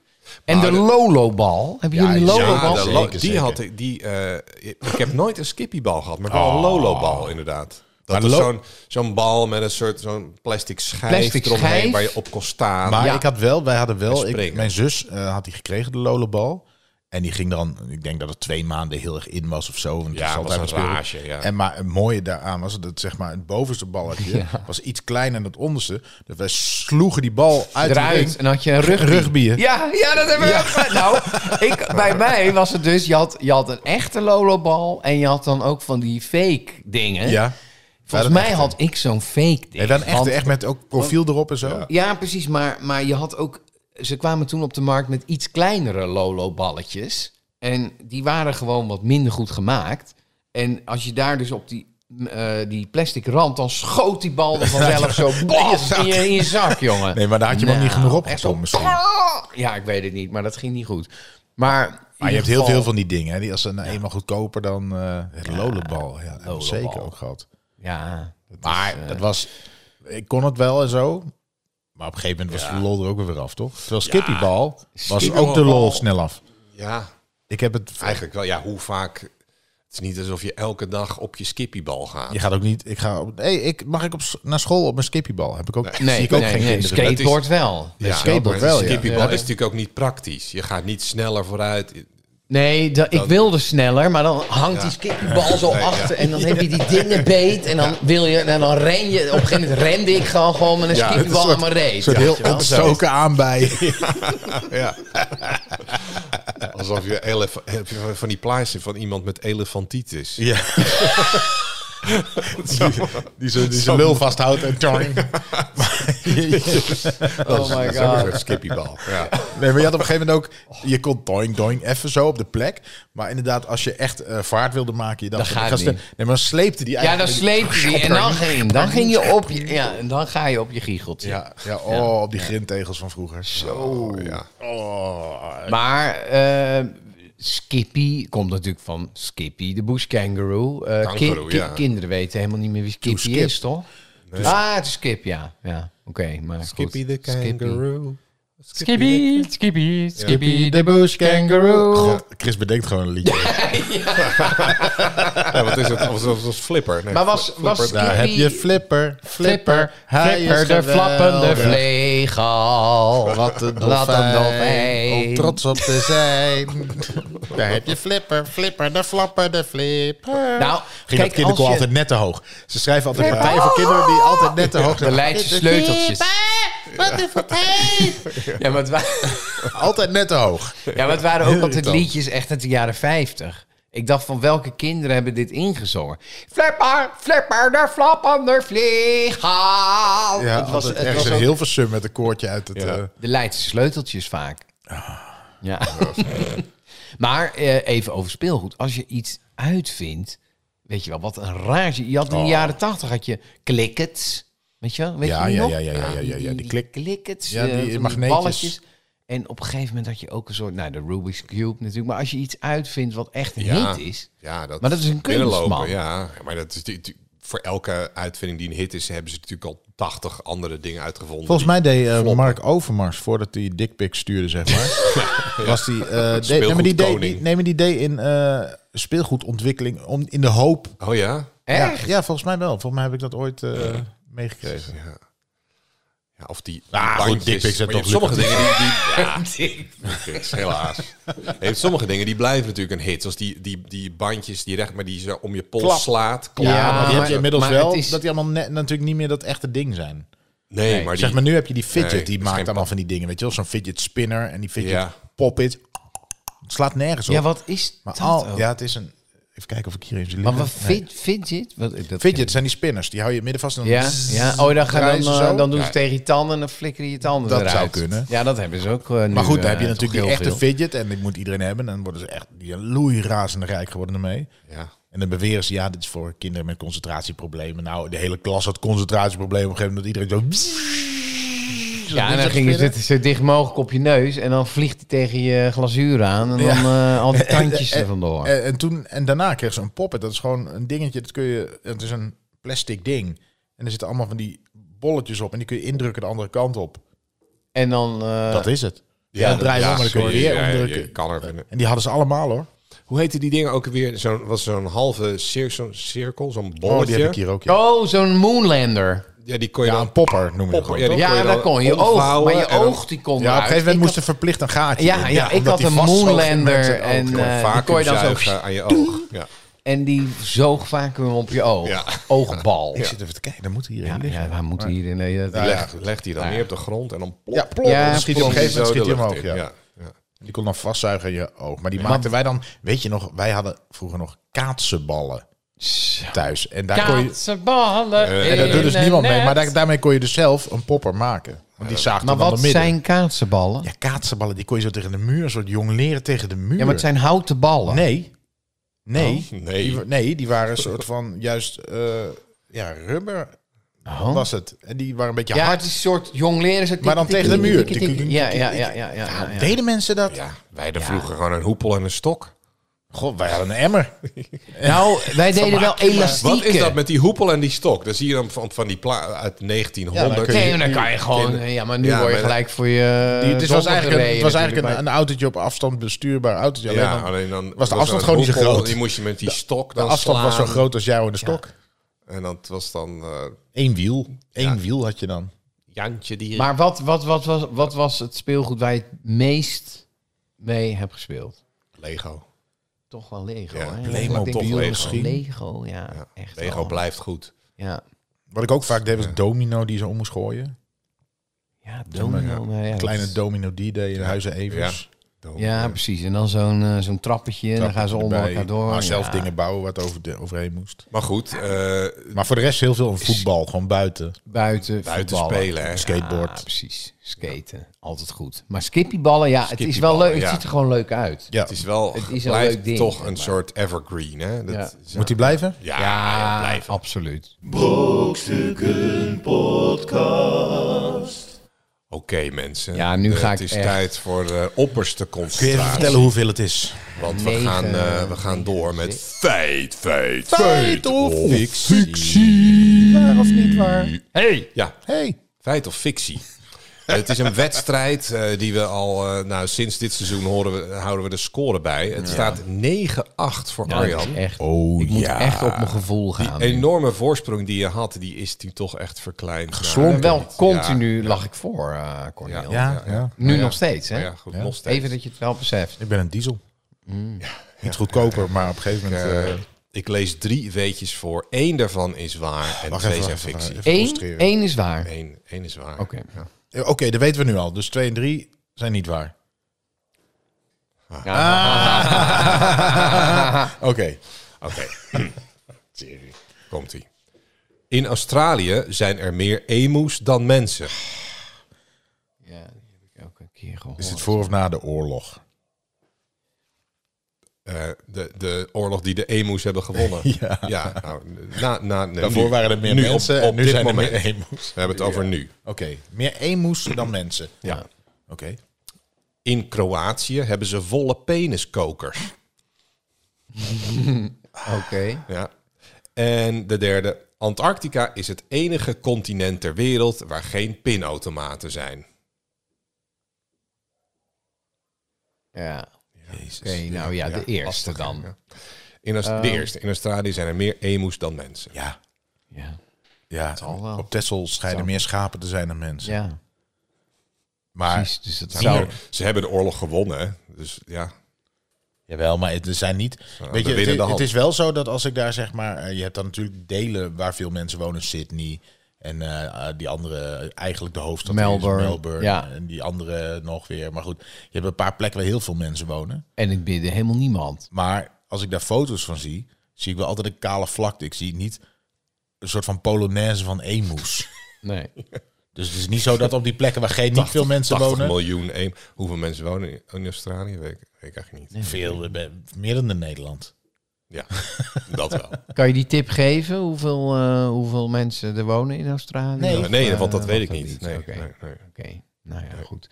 Speaker 4: En de lolobal. Hebben jullie een
Speaker 3: ja,
Speaker 4: lolobal?
Speaker 2: de
Speaker 3: zeker,
Speaker 2: lo- die
Speaker 3: zeker.
Speaker 2: had ik- die. eh, ik heb nooit een skippiebal gehad, maar wel een lolobal inderdaad. Dat
Speaker 3: Maar
Speaker 2: is
Speaker 3: lo-
Speaker 2: zo'n zo'n bal met een soort zo'n plastic schijf
Speaker 4: Plastic
Speaker 2: eromheen
Speaker 4: schijf.
Speaker 2: waar je op kon staan.
Speaker 3: Maar
Speaker 4: Ja.
Speaker 3: ik had wel, wij hadden wel, ik,
Speaker 2: En springen.
Speaker 3: mijn zus eh, had die gekregen, de lolebal. En die ging dan, ik denk dat het twee maanden heel erg in was of zo. Want het
Speaker 2: Ja,
Speaker 3: is
Speaker 2: was
Speaker 3: altijd
Speaker 2: een
Speaker 3: speelgoed.
Speaker 2: rage, ja.
Speaker 3: En maar het mooie daaraan was dat zeg maar het bovenste balletje was iets kleiner dan het onderste. Dus wij sloegen die bal uit de
Speaker 4: eruit
Speaker 3: ring.
Speaker 4: en had je een rugby.
Speaker 3: Rugbier.
Speaker 4: Ja, ja, dat hebben we ook gedaan. Nou, ik, bij mij was het dus, je had, je had een echte lolobal en je had dan ook van die fake dingen.
Speaker 3: Ja.
Speaker 4: Volgens
Speaker 3: Ja,
Speaker 4: mij
Speaker 3: dat echte.
Speaker 4: had ik zo'n fake ding.
Speaker 3: Nee, dan echt,
Speaker 4: want-
Speaker 3: echt met ook profiel erop en zo.
Speaker 4: Ja, precies, maar, maar je had ook, ze kwamen toen op de markt met iets kleinere loloballetjes en die waren gewoon wat minder goed gemaakt. En als je daar dus op die, eh, die plastic rand, dan schoot die bal er vanzelf zo bam, in, je, in je zak, jongen.
Speaker 3: Nee, maar daar had je
Speaker 4: Nou,
Speaker 3: maar niet genoeg
Speaker 4: echt
Speaker 3: opgekomen misschien.
Speaker 4: Ja, ik weet het niet, maar dat ging niet goed. Maar,
Speaker 3: Maar je
Speaker 4: in
Speaker 3: hebt
Speaker 4: ieder
Speaker 3: heel veel
Speaker 4: geval-
Speaker 3: van die dingen. Hè? Die als ze nou eenmaal goedkoper dan eh het lolebal. Ja, dat hebben we
Speaker 4: lolebal.
Speaker 3: zeker ook gehad.
Speaker 4: Ja,
Speaker 3: Maar dat was, ik kon het wel en zo. Maar op een gegeven moment was de lol er ook weer af, toch? Terwijl Skippybal was ook de lol snel af.
Speaker 2: ja,
Speaker 3: Ik heb het
Speaker 2: eigenlijk wel. Ja, hoe vaak? Het is niet alsof je elke dag op je skippiebal gaat.
Speaker 3: Je gaat ook niet. Ik ga. op- Hey, ik mag ik op s- naar school op mijn Skippybal? Heb ik ook.
Speaker 4: nee,
Speaker 3: zie ik ook
Speaker 4: nee,
Speaker 3: geen
Speaker 4: nee,
Speaker 3: kinderen.
Speaker 4: skateboard wel.
Speaker 3: Ja, skateboard wel, ja.
Speaker 2: Skippiebal
Speaker 4: Ja.
Speaker 2: is natuurlijk ook niet praktisch. Je gaat niet sneller vooruit.
Speaker 4: Nee, da- ik wilde sneller, maar dan hangt die skippiebal zo
Speaker 2: Nee, ja.
Speaker 4: achter en dan heb je die dingen beet en dan wil je, en dan ren je, op een gegeven moment rende ik gewoon, gewoon met een
Speaker 2: Ja,
Speaker 4: skippiebal aan mijn reet.
Speaker 3: Een soort
Speaker 4: weet je
Speaker 3: heel
Speaker 4: wel.
Speaker 3: ontstoken aanbij.
Speaker 2: Ja. Alsof je, elef- heb je van die plaatsen van iemand met elefantitis.
Speaker 3: Ja. die die zijn die zijn lul vasthoudt en toing.
Speaker 4: Oh my god.
Speaker 2: Een skippiebal. Ja.
Speaker 3: Nee, maar je had op een gegeven moment ook... Je kon doink doink even zo op de plek. Maar inderdaad, als je echt eh, vaart wilde maken... Je dacht,
Speaker 4: Dat gaat
Speaker 3: ik ga sne-
Speaker 4: niet.
Speaker 3: Nee, maar dan sleepte die
Speaker 4: Ja, dan
Speaker 3: eigenlijk...
Speaker 4: sleep je die en dan ging, dan ging je op je, ja, en dan ga je op je giecheltje.
Speaker 3: Ja, ja, oh, op die grindtegels van vroeger.
Speaker 4: Oh.
Speaker 3: Oh, Zo.
Speaker 2: Oh, ja.
Speaker 4: Maar eh, Skippy komt natuurlijk van Skippy, de bush kangaroo. Eh, ki-
Speaker 2: Kangaroo,
Speaker 4: ki-
Speaker 2: ja.
Speaker 4: Kinderen weten helemaal niet meer wie Skippy
Speaker 3: Skip.
Speaker 4: is, toch? Ah, het is Skip, ja. ja. Oké, maar goed.
Speaker 2: Skippy the
Speaker 4: Skippy.
Speaker 2: kangaroo.
Speaker 6: Skippy, Skippy, Skippy.
Speaker 4: de bush kangaroo.
Speaker 3: God, Chris bedenkt gewoon een liedje.
Speaker 2: Ja, wat is het? Als, als, als flipper. Nee,
Speaker 4: Maar was,
Speaker 2: fl-
Speaker 4: was Skippy...
Speaker 3: Daar heb je Flipper, Flipper,
Speaker 4: Flipper,
Speaker 3: hij
Speaker 4: flipper,
Speaker 3: is
Speaker 4: de flappende
Speaker 3: geweldig.
Speaker 4: vlegel.
Speaker 3: Wat een
Speaker 4: Wat een
Speaker 3: dolfijn,
Speaker 4: dolfijn.
Speaker 3: om Oh, trots op te zijn. Daar heb je Flipper, Flipper, de flappende Flipper.
Speaker 4: Nou,
Speaker 3: Ging dat
Speaker 4: kijk, als
Speaker 3: kinderkoor
Speaker 4: je-
Speaker 3: altijd net te hoog. Ze schrijven altijd partijen voor kinderen die altijd net te hoog
Speaker 4: De
Speaker 3: zijn.
Speaker 4: Leidse sleuteltjes. Ja, maar het, wa-
Speaker 3: Altijd net te hoog.
Speaker 4: ja, maar het waren ook altijd liedjes echt uit de jaren 50. Ik dacht van welke kinderen hebben dit ingezongen? Flipper, flipper, de flappende vlieghaal.
Speaker 3: Ja,
Speaker 4: het was, het
Speaker 3: ergens
Speaker 4: was
Speaker 3: een
Speaker 4: ook
Speaker 3: heel veel sum met een koortje uit het...
Speaker 2: Ja.
Speaker 3: eh,
Speaker 4: de Leidse sleuteltjes vaak.
Speaker 3: Ah.
Speaker 4: Ja. maar eh, even over speelgoed. Als je iets uitvindt, weet je wel, wat een rage. Je had in de jaren tachtig had je klikkets. Weet je wel? Weet
Speaker 3: Oh. Ja,
Speaker 4: je die
Speaker 3: ja,
Speaker 4: nog?
Speaker 3: ja, ja, ja, ja, ja, ja, die klik-
Speaker 4: klikkets.
Speaker 3: Ja,
Speaker 4: eh,
Speaker 3: die
Speaker 4: van
Speaker 3: magneetjes.
Speaker 4: balletjes. En op een gegeven moment had je ook een soort, nou de Rubik's Cube natuurlijk. Maar als je iets uitvindt wat echt een
Speaker 2: Ja.
Speaker 4: hit is.
Speaker 2: Ja, dat
Speaker 4: Maar dat is een
Speaker 2: binnenlopen,
Speaker 4: kunstman.
Speaker 2: Ja, maar dat is die- die- voor elke uitvinding die een hit is, hebben ze natuurlijk al 80 andere dingen uitgevonden.
Speaker 3: Volgens
Speaker 2: die-
Speaker 3: mij deed eh,
Speaker 2: Floppen.
Speaker 3: Mark Overmars, voordat hij dickpics stuurde, zeg maar. Was die, eh deed, nee, maar die, deed,
Speaker 2: Speelgoedkoning.
Speaker 3: die, nee, maar die deed in eh, speelgoedontwikkeling om, in de hoop.
Speaker 2: Oh ja?
Speaker 4: Echt?
Speaker 3: Ja, ja, volgens mij wel. Volgens mij heb ik dat ooit eh, meegekregen.
Speaker 2: Ja. ja of die.
Speaker 3: Ah,
Speaker 2: die
Speaker 3: goed,
Speaker 2: bandjes.
Speaker 3: dickpics, dat
Speaker 2: Maar je hebt
Speaker 3: toch
Speaker 2: sommige dingen die. die ja, dickpics, helaas. Je hebt sommige dingen die blijven natuurlijk een hit. Zoals die, die, die bandjes die je recht maar die zo om je pols
Speaker 3: Klap.
Speaker 2: slaat.
Speaker 4: Ja,
Speaker 2: Klap.
Speaker 3: Ja, maar die heb
Speaker 4: maar-
Speaker 3: je inmiddels
Speaker 4: maar
Speaker 3: wel.
Speaker 4: het is-
Speaker 3: Dat die allemaal net, natuurlijk niet meer dat echte ding zijn.
Speaker 2: Nee, maar die.
Speaker 3: zeg maar, nu heb je die fidget,
Speaker 2: Nee, dat
Speaker 3: die
Speaker 2: is
Speaker 3: maakt
Speaker 2: geen
Speaker 3: allemaal van die dingen. Weet je wel, zo'n fidget spinner en die fidget
Speaker 2: Ja.
Speaker 3: pop-it. Het slaat nergens op.
Speaker 4: Ja, wat is
Speaker 3: maar
Speaker 4: dat
Speaker 3: al,
Speaker 4: ook?
Speaker 3: ja, het is een... Even kijken of ik hier even...
Speaker 4: Maar wat
Speaker 3: Nee.
Speaker 4: vind, vind je het? Wat, dat ken ik
Speaker 3: Fidget zijn die spinners. Die hou je in het midden vast. En dan
Speaker 4: Ja, ja. Oh, dan, gaan
Speaker 3: draaien
Speaker 4: dan,
Speaker 3: ze
Speaker 4: eh,
Speaker 3: zo.
Speaker 4: dan doen ze
Speaker 2: Ja.
Speaker 4: tegen je tanden en dan flikker je je tanden
Speaker 3: Dat
Speaker 4: eruit.
Speaker 3: zou kunnen.
Speaker 4: Ja, dat hebben ze ook eh, nu,
Speaker 3: Maar goed, dan
Speaker 4: eh,
Speaker 3: heb je
Speaker 4: toch
Speaker 3: natuurlijk die
Speaker 4: heel
Speaker 3: echte
Speaker 4: veel.
Speaker 3: fidget. En die moet iedereen hebben. En dan worden ze echt die loeirazende rijk geworden ermee.
Speaker 2: Ja.
Speaker 3: En dan beweren ze, ja, dit is voor kinderen met concentratieproblemen. Nou, de hele klas had concentratieproblemen. Op een gegeven moment dat iedereen zo...
Speaker 4: Ja, en dan ging je zitten zo dicht mogelijk op je neus en dan vliegt hij tegen je eh, glazuur aan en dan eh, al die tandjes er vandoor.
Speaker 3: eh, En, en, toen, en daarna kreeg ze een poppet. Dat is gewoon een dingetje. Dat kun je, het is een plastic ding. En er zitten allemaal van die bolletjes op. En die kun je indrukken de andere kant op.
Speaker 4: En dan... eh,
Speaker 3: dat is het.
Speaker 2: Ja,
Speaker 3: Ja, dan draai je
Speaker 2: ja,
Speaker 3: om en dan kun je
Speaker 2: sorry,
Speaker 3: weer
Speaker 2: ja, je
Speaker 3: omdrukken.
Speaker 2: kan er binnen.
Speaker 3: En die hadden ze allemaal, hoor.
Speaker 2: Hoe heette die dingen ook weer? Zo'n was zo'n halve cir- zo'n cirkel, zo'n bolletje.
Speaker 3: Oh, die heb ik hier ook. Ja,
Speaker 4: Oh, zo'n moonlander.
Speaker 2: Ja, die kon je
Speaker 3: ja
Speaker 2: dan
Speaker 3: een popper noemen
Speaker 2: poppen.
Speaker 3: we
Speaker 2: Ja,
Speaker 3: dat.
Speaker 2: die
Speaker 4: Ja,
Speaker 2: kon je
Speaker 4: dat
Speaker 2: dan
Speaker 4: kon je oog. Maar
Speaker 2: omvouwen
Speaker 4: je
Speaker 2: en dan-
Speaker 4: oog die kon
Speaker 3: Ja, op een gegeven moment moest
Speaker 4: moesten
Speaker 3: er verplicht een gaatje
Speaker 4: Ja,
Speaker 3: in.
Speaker 4: ja, ik
Speaker 3: omdat
Speaker 4: had
Speaker 3: die
Speaker 4: een
Speaker 3: vastzoog met
Speaker 4: moonlander
Speaker 3: zijn oog.
Speaker 4: en,
Speaker 3: Gewoon
Speaker 4: eh,
Speaker 3: vaak.
Speaker 4: die kon je dan zo-
Speaker 2: vacuümzuigen aan je oog. Ja.
Speaker 4: En die zoog vacuüm op je oog.
Speaker 2: Ja.
Speaker 4: Oogbal.
Speaker 3: Ik
Speaker 4: Ja,
Speaker 3: zit even te kijken, dan moet hier
Speaker 4: ja,
Speaker 3: in liggen.
Speaker 4: waar moet hij hier in? eh, Nee, dat-
Speaker 3: Ja,
Speaker 2: Leg, legt hij dan
Speaker 4: Ja.
Speaker 2: neer op de grond en dan plop.
Speaker 3: Ja, plop.
Speaker 4: Ja,
Speaker 3: dan schiet hij op een gegeven moment
Speaker 2: Zo
Speaker 3: schiet hij
Speaker 2: de
Speaker 3: omhoog. Ja.
Speaker 2: lucht in. Ja.
Speaker 3: Die kon dan vastzuigen in je oog. Maar die maakten wij dan, weet je nog, wij hadden vroeger nog kaatsenballen thuis. En daar kon je,
Speaker 4: Kaatsenballen
Speaker 3: en daar
Speaker 4: in
Speaker 3: doet dus
Speaker 4: een
Speaker 3: niemand mee.
Speaker 4: net.
Speaker 3: Maar daar- daarmee kon je dus zelf een popper maken. Want die zaagden
Speaker 4: Maar
Speaker 3: dan
Speaker 4: wat
Speaker 3: de midden.
Speaker 4: zijn kaatsenballen?
Speaker 3: Ja, kaatsenballen, die kon je zo tegen de muur, een soort jong leren tegen de muur.
Speaker 4: Ja, maar het zijn houten ballen.
Speaker 3: Nee. Nee.
Speaker 2: Oh, nee.
Speaker 3: Die, wa- nee, die waren een soort van juist eh, ja, rubber
Speaker 4: Oh.
Speaker 3: was het. En die waren een beetje
Speaker 4: ja,
Speaker 3: hard.
Speaker 4: het is een soort jongleren. zo tik,
Speaker 3: Maar dan
Speaker 4: tik,
Speaker 3: tegen de
Speaker 4: tik,
Speaker 3: muur.
Speaker 4: tik, tik, tik. Ja, ja, ja. ja, ja, ja.
Speaker 3: Deden mensen dat?
Speaker 2: Ja, wij hadden vroeger gewoon een hoepel en een stok.
Speaker 3: God, wij hadden een emmer.
Speaker 4: Nou, wij deden wel elastieken.
Speaker 2: Wat is dat met die hoepel en die stok? Dan zie je dan van, van die pla uit
Speaker 3: Ja, dan
Speaker 2: 1900.
Speaker 3: kun
Speaker 4: Nee, dan kan je gewoon...
Speaker 2: Kinderen.
Speaker 4: Ja, maar nu
Speaker 2: Ja,
Speaker 4: word je
Speaker 2: maar dat-
Speaker 4: gelijk voor je...
Speaker 3: Die- het is- was
Speaker 4: donder
Speaker 3: eigenlijk, dus een,
Speaker 4: gereden
Speaker 3: het was eigenlijk een,
Speaker 4: natuurlijk
Speaker 3: een autootje op afstand bestuurbaar autootje. Alleen
Speaker 2: ja,
Speaker 3: dan-
Speaker 2: alleen dan
Speaker 3: was de
Speaker 2: er
Speaker 3: afstand
Speaker 2: een
Speaker 3: gewoon niet zo
Speaker 2: hoepel,
Speaker 3: groot.
Speaker 2: Die moest je met die stok
Speaker 3: de
Speaker 2: dan
Speaker 3: afstand was zo
Speaker 2: slaan.
Speaker 3: groot als jou in de stok.
Speaker 2: En dat was dan eh,
Speaker 3: Eén wiel. Eén wiel had je dan.
Speaker 2: Jantje die...
Speaker 4: bij- Maar wat, wat, wat, was, wat was het speelgoed waar je het meest mee hebt gespeeld?
Speaker 2: Lego.
Speaker 4: Toch wel Lego,
Speaker 2: Ja,
Speaker 4: hè?
Speaker 2: Lego,
Speaker 4: Ik denk
Speaker 2: toch
Speaker 4: wel
Speaker 2: Lego.
Speaker 4: Lego, ja. Echt
Speaker 2: Lego
Speaker 4: wel.
Speaker 2: blijft goed.
Speaker 4: Ja.
Speaker 3: Wat ik ook vaak deed was domino die ze om moest gooien.
Speaker 4: Ja, domino. nou ja, dat
Speaker 3: Kleine
Speaker 4: is-
Speaker 3: domino die deed in huizen Dus Evers.
Speaker 4: Ja, precies. En dan zo'n eh, zo'n trappetje. En dan gaan ze onder
Speaker 3: Erbij.
Speaker 4: elkaar door.
Speaker 3: Maar zelf
Speaker 4: Ja.
Speaker 3: dingen bouwen wat over de, overheen moest.
Speaker 2: Maar goed, eh,
Speaker 3: Maar voor de rest heel veel om voetbal. Gewoon buiten.
Speaker 4: Buiten,
Speaker 2: buiten
Speaker 4: voetballen.
Speaker 2: spelen. Hè.
Speaker 3: Skateboard.
Speaker 4: Ja, precies. Skaten. Altijd goed. Maar skippyballen, ja, het is wel
Speaker 2: Skippyballen,
Speaker 4: leuk. Het
Speaker 2: ja.
Speaker 4: ziet er gewoon leuk uit.
Speaker 3: Ja.
Speaker 2: Het is wel
Speaker 4: Het is een
Speaker 2: blijft
Speaker 4: leuk ding,
Speaker 2: toch
Speaker 4: zeg
Speaker 2: een
Speaker 4: maar.
Speaker 2: soort evergreen. Hè? Dat, ja.
Speaker 3: Moet die blijven?
Speaker 2: Ja,
Speaker 4: Ja,
Speaker 2: blijft.
Speaker 4: absoluut.
Speaker 1: Brokstukken Podcast.
Speaker 2: Oké mensen,
Speaker 4: Ja, nu
Speaker 2: Eh,
Speaker 4: ga
Speaker 2: het
Speaker 4: ik
Speaker 2: is
Speaker 4: echt-
Speaker 2: tijd voor de opperste
Speaker 3: Kun je even
Speaker 2: concentratie.
Speaker 3: vertellen hoeveel het is?
Speaker 2: Want we
Speaker 4: Negen,
Speaker 2: gaan, eh, we gaan door met feit, feit,
Speaker 3: Feit of
Speaker 2: fictie.
Speaker 3: Waar of niet waar?
Speaker 6: Hey,
Speaker 2: Ja,
Speaker 3: Hey.
Speaker 2: feit of fictie. het is een wedstrijd eh, die we al, eh, nou sinds dit seizoen horen we, houden we de score bij. Het staat 9-8 voor
Speaker 4: Ja, dat is
Speaker 2: Arjan.
Speaker 4: echt,
Speaker 3: Oh
Speaker 4: ik moet
Speaker 3: ja.
Speaker 4: echt op mijn gevoel gaan.
Speaker 2: Die enorme voorsprong die je had, die is nu toch echt verkleind.
Speaker 4: En
Speaker 3: Geslonken.
Speaker 4: wel continu lag ik voor, eh, Cornel.
Speaker 2: Ja.
Speaker 3: Ja, ja.
Speaker 4: Nu nog steeds, hè?
Speaker 2: Nou ja, goed, nog steeds.
Speaker 4: Even dat je het wel beseft.
Speaker 3: Ik ben een diesel. Niet goedkoper, maar op een gegeven moment...
Speaker 2: Eh,
Speaker 3: Mm. eh,
Speaker 2: ik lees drie weetjes voor. Eén daarvan is waar en
Speaker 3: Wacht
Speaker 2: twee
Speaker 3: even,
Speaker 2: zijn
Speaker 3: wacht even,
Speaker 2: fictie.
Speaker 3: even
Speaker 4: Eén,
Speaker 3: concentreren.
Speaker 4: één is waar.
Speaker 2: Eén, één is waar.
Speaker 4: Oké.
Speaker 2: Ja.
Speaker 3: Eh, Oké, dat weten we nu al. Dus 2 en 3 zijn niet waar. Oké.
Speaker 2: Oké. Komt-ie. In Australië zijn er meer emoes dan mensen.
Speaker 4: Ja, die heb ik ook een keer gehoord.
Speaker 3: Is het voor of na de oorlog?
Speaker 2: Eh, de, de oorlog die de emoes hebben gewonnen.
Speaker 3: Ja.
Speaker 2: nou, na, na, nee,
Speaker 3: Daarvoor
Speaker 2: nu.
Speaker 3: waren er meer
Speaker 2: Nu,
Speaker 3: mensen
Speaker 2: Op,
Speaker 3: en
Speaker 2: op
Speaker 3: nu
Speaker 2: dit
Speaker 3: zijn er
Speaker 2: moment.
Speaker 3: meer emoes.
Speaker 2: We hebben het over nu.
Speaker 3: Oké, meer emoes dan mensen.
Speaker 2: Ja.
Speaker 3: Oké.
Speaker 2: In Kroatië hebben ze volle peniskokers.
Speaker 4: Oké.
Speaker 2: Ja. En de derde. Antarctica is het enige continent ter wereld waar geen pinautomaten zijn.
Speaker 4: Ja. Oké, nou ja, de eerste dan. Ja.
Speaker 2: In Aus-
Speaker 3: Ehm.
Speaker 2: de eerste. In Australië zijn er meer emoes dan mensen.
Speaker 3: Ja.
Speaker 4: Ja.
Speaker 3: Ja,
Speaker 4: wel.
Speaker 3: op Texel scheiden meer schapen te zijn dan mensen. maar,
Speaker 4: Precies, dus dat
Speaker 2: Nou,
Speaker 4: zou...
Speaker 2: Ze hebben de oorlog gewonnen, hè. dus ja.
Speaker 3: Jawel, maar het er zijn niet... weet
Speaker 2: de
Speaker 3: je, het,
Speaker 2: winnende
Speaker 3: is-
Speaker 2: hand.
Speaker 3: het is wel zo dat als ik daar zeg maar... eh, Je hebt dan natuurlijk delen waar veel mensen wonen. Sydney en eh, eh, die andere... Eigenlijk de hoofdstad is
Speaker 4: Melbourne,
Speaker 3: Melbourne
Speaker 4: ja.
Speaker 3: En die andere nog weer. Maar goed, je hebt een paar plekken waar heel veel mensen wonen.
Speaker 4: En ik bidden helemaal niemand.
Speaker 3: Maar als ik daar foto's van zie... Zie ik wel altijd een kale vlakte. Ik zie niet een soort van polonaise van emoes.
Speaker 4: Nee.
Speaker 3: Dus het is niet zo dat op die plekken waar geen, niet veel mensen
Speaker 2: 80
Speaker 3: wonen...
Speaker 2: miljoen. em- Hoeveel mensen wonen in- in Australië? Weet ik, weet ik eigenlijk niet.
Speaker 3: Veel, eh, be- meer dan in Nederland.
Speaker 2: Ja, dat wel.
Speaker 4: Kan je die tip geven? Hoeveel, eh, hoeveel mensen er wonen in Australië?
Speaker 3: Nee.
Speaker 4: Of,
Speaker 2: Eh, nee,
Speaker 4: eh,
Speaker 2: want dat weet ik
Speaker 4: dat
Speaker 2: niet. Nee,
Speaker 4: Oké.
Speaker 2: nee, nee.
Speaker 4: Oké. Nou ja, goed.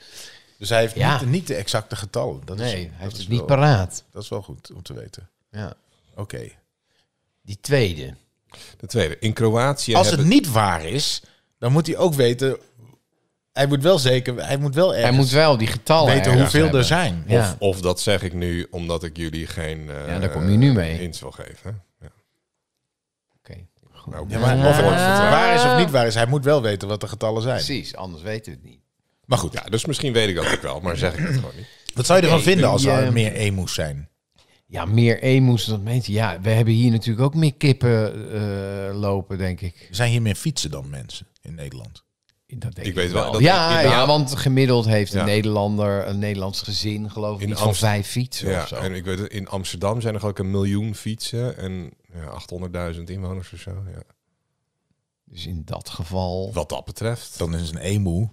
Speaker 3: Dus hij heeft
Speaker 4: Ja.
Speaker 3: niet, niet de exacte getallen. Dat is,
Speaker 4: Nee,
Speaker 3: dat
Speaker 4: hij heeft
Speaker 3: is
Speaker 4: het niet
Speaker 3: wel-
Speaker 4: paraat.
Speaker 3: Dat is wel goed om te weten.
Speaker 4: Ja.
Speaker 3: Oké.
Speaker 4: Die tweede.
Speaker 2: De tweede. In Kroatië
Speaker 3: Als het
Speaker 2: hebben...
Speaker 3: niet waar is, dan moet hij ook weten. Hij moet wel zeker. Hij moet wel
Speaker 4: Hij
Speaker 3: ergens
Speaker 4: moet
Speaker 2: dus
Speaker 4: wel die getallen
Speaker 3: weten
Speaker 4: ergens
Speaker 3: hoeveel er
Speaker 4: hebben.
Speaker 3: zijn.
Speaker 4: Ja.
Speaker 2: Of, of dat zeg ik nu omdat ik jullie geen eh,
Speaker 4: Ja, daar kom je nu mee.
Speaker 2: hints wil geven. hè. Ja.
Speaker 4: Oké. Goed.
Speaker 2: Nou,
Speaker 3: Ja, maar
Speaker 2: of
Speaker 3: of
Speaker 2: ik
Speaker 3: het
Speaker 2: word vertraagd.
Speaker 3: waar is of niet waar is, hij moet wel weten wat de getallen zijn.
Speaker 4: Precies, anders weten we het niet.
Speaker 3: Maar goed,
Speaker 2: Ja, dus misschien weet ik dat ook wel, maar zeg ik het gewoon niet.
Speaker 3: wat zou je ervan
Speaker 4: Oké,
Speaker 3: vinden als
Speaker 4: die,
Speaker 3: er
Speaker 4: eh,
Speaker 3: meer emoes zijn?
Speaker 4: Ja, meer emoes dan mensen. Ja, we hebben hier natuurlijk ook meer kippen eh, lopen, denk ik.
Speaker 3: Er zijn hier meer fietsen dan mensen in Nederland?
Speaker 4: Dat denk
Speaker 2: Ik weet wel dat
Speaker 4: ja,
Speaker 2: in de-
Speaker 4: ja, want gemiddeld heeft een
Speaker 2: Ja.
Speaker 4: Nederlander, een Nederlands gezin, geloof ik,
Speaker 2: In
Speaker 4: iets van
Speaker 2: Amst-
Speaker 4: vijf fietsen
Speaker 2: Ja,
Speaker 4: of zo.
Speaker 2: en ik weet het, in Amsterdam zijn er ook een miljoen fietsen en ja, 800.000 inwoners of zo. Ja.
Speaker 4: Dus in dat geval...
Speaker 2: Wat dat betreft.
Speaker 3: Dan is een emu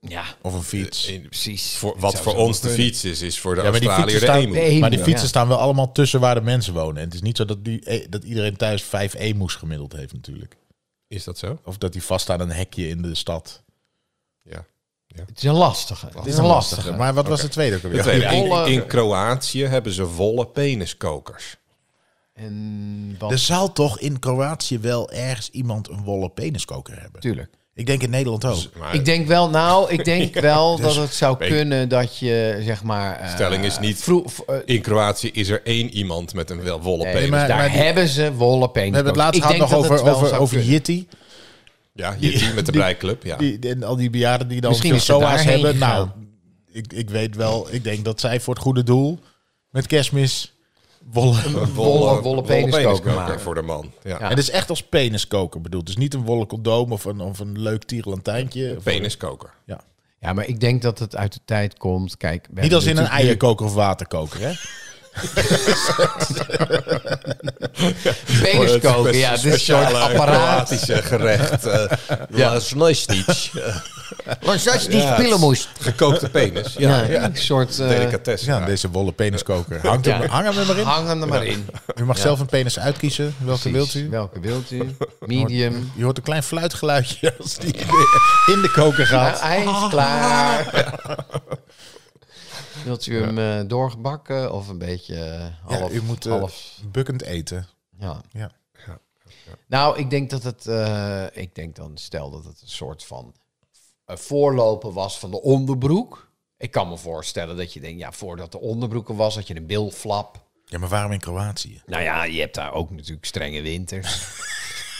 Speaker 4: Ja,
Speaker 3: of een fiets.
Speaker 4: Eh,
Speaker 2: in-
Speaker 4: precies.
Speaker 2: voor,
Speaker 4: Het
Speaker 2: wat
Speaker 4: zou
Speaker 2: voor
Speaker 4: zo
Speaker 2: ons de
Speaker 4: kunnen.
Speaker 2: fiets is, is voor de
Speaker 3: Ja, maar die
Speaker 2: Australiër de
Speaker 3: fietsen
Speaker 2: emu.
Speaker 3: staan-
Speaker 4: De emu,
Speaker 3: maar die
Speaker 4: ja.
Speaker 3: fietsen staan wel allemaal tussen waar de mensen wonen. En het is niet zo dat, die, eh, dat iedereen thuis vijf emus gemiddeld heeft natuurlijk.
Speaker 2: Is dat zo?
Speaker 3: Of dat die vast aan een hekje in de stad.
Speaker 2: Ja.
Speaker 4: Het is een lastige. Het is een lastige.
Speaker 3: Maar wat was de tweede ook
Speaker 2: De
Speaker 3: alweer?
Speaker 2: tweede,
Speaker 4: Ja.
Speaker 2: in,
Speaker 4: Volle-
Speaker 2: in Kroatië hebben ze volle peniskokers.
Speaker 4: En wat...
Speaker 3: Er zal toch in Kroatië wel ergens iemand een wollen peniskoker hebben?
Speaker 4: Tuurlijk.
Speaker 3: Ik denk in Nederland ook.
Speaker 2: Maar
Speaker 4: Ik denk wel, nou, ik denk wel dat het zou
Speaker 2: weet-
Speaker 4: kunnen dat je, zeg maar... eh,
Speaker 2: Stelling is niet-
Speaker 4: vroeg- v- eh,
Speaker 2: in Kroatië is er één iemand met een wel wollen
Speaker 4: nee,
Speaker 2: penis.
Speaker 3: maar-
Speaker 4: daar
Speaker 3: die-
Speaker 4: hebben ze wollen penis.
Speaker 3: We hebben het laatst
Speaker 4: Ik
Speaker 3: gehad
Speaker 4: denk
Speaker 3: nog
Speaker 4: dat het
Speaker 3: over,
Speaker 4: wel
Speaker 3: over,
Speaker 4: zou
Speaker 3: over
Speaker 4: kunnen.
Speaker 3: Yitty.
Speaker 2: ja, je team met de
Speaker 3: die-
Speaker 2: breiklub. Ja.
Speaker 3: Die, die- en al die bejaarden die dan
Speaker 4: Misschien
Speaker 3: veel
Speaker 4: is ze
Speaker 3: SOA's
Speaker 4: daarheen
Speaker 3: hebben. Nou,
Speaker 4: gegaan.
Speaker 3: ik, ik weet wel. Ik denk dat zij voor het goede doel met kerstmis wollen...
Speaker 4: wollen- wollen peniskoker maken.
Speaker 2: voor de man. Ja.
Speaker 4: Ja.
Speaker 3: En dat is echt als peniskoker bedoeld. Dus niet een wollen condoom of een, of een leuk tierlantijntje. Of-
Speaker 2: Peniskoker.
Speaker 3: Ja.
Speaker 4: Ja, maar ik denk dat het uit de tijd komt. Kijk, we
Speaker 3: Niet
Speaker 4: hebben
Speaker 3: als in een
Speaker 4: natuurlijk nu-
Speaker 3: eierkoker of waterkoker, hè?
Speaker 4: Penis koken, ja. Het is een soort
Speaker 2: Speciale
Speaker 4: apparaat.
Speaker 2: Kroatische gerecht. eh ja. Snojstic.
Speaker 4: Was dat je die
Speaker 2: Ja,
Speaker 4: spullen moest?
Speaker 2: Gekookte penis. Ja,
Speaker 4: Ja, een soort... eh,
Speaker 2: Delicatessen.
Speaker 3: Ja,
Speaker 2: Ja.
Speaker 3: deze wollen peniskoker. Hangt
Speaker 4: Ja.
Speaker 3: hem, hang hem er maar in.
Speaker 4: hang hem er maar in.
Speaker 3: U mag zelf een penis uitkiezen. Welke wilt
Speaker 4: Precies.
Speaker 3: u?
Speaker 4: Welke wilt u? Medium.
Speaker 3: Je hoort een klein fluitgeluidje als die in de koker
Speaker 4: Nou,
Speaker 3: gaat.
Speaker 4: hij is klaar. Wilt u hem eh, doorgebakken of een beetje eh,
Speaker 3: Ja,
Speaker 4: half?
Speaker 3: u moet eh,
Speaker 4: half
Speaker 3: bukkend eten.
Speaker 4: ja.
Speaker 3: Ja.
Speaker 4: Nou, ik denk dat het... eh, ik denk dan, stel dat het een soort van eh, voorloper was van de onderbroek. Ik kan me voorstellen dat je denkt, ja, voordat de onderbroeken was, had je een bilflap.
Speaker 3: ja, maar waarom in Kroatië?
Speaker 4: Nou ja, je hebt daar ook natuurlijk strenge winters.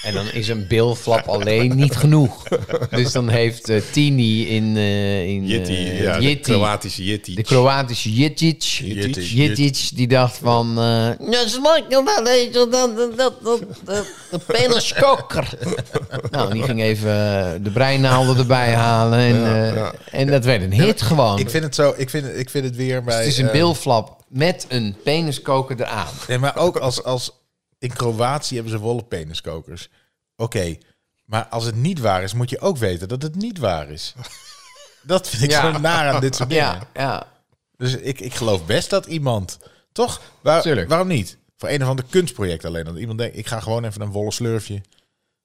Speaker 4: En dan is een bilflap alleen niet genoeg. Dus dan heeft eh, Tini in... eh, in eh,
Speaker 2: Jitti, ja, de
Speaker 4: Jitti,
Speaker 2: Kroatische Jitti.
Speaker 4: de Kroatische Jitic. Jitic. die dacht van... eh ja, smaakt nog wel weet je, dat, dat, dat, dat, dat, de peniskoker. nou, die ging even eh, de breinaalden erbij halen. En, eh, en dat werd een hit gewoon.
Speaker 3: Ik vind het zo, ik vind, ik vind het weer bij...
Speaker 4: het is een
Speaker 3: eh,
Speaker 4: bilflap. met een peniskoker eraan.
Speaker 3: Nee, maar ook als, als in Kroatië hebben ze wollen peniskokers. Oké, maar als het niet waar is, moet je ook weten dat het niet waar is. Dat vind ik
Speaker 4: Ja.
Speaker 3: zo naar aan dit soort dingen.
Speaker 4: Ja, ja.
Speaker 3: Dus ik, ik geloof best dat iemand, toch? Waar-
Speaker 4: Tuurlijk.
Speaker 3: Waarom niet? Voor een of ander kunstproject alleen. Dat iemand denkt, ik ga gewoon even een wollen slurfje.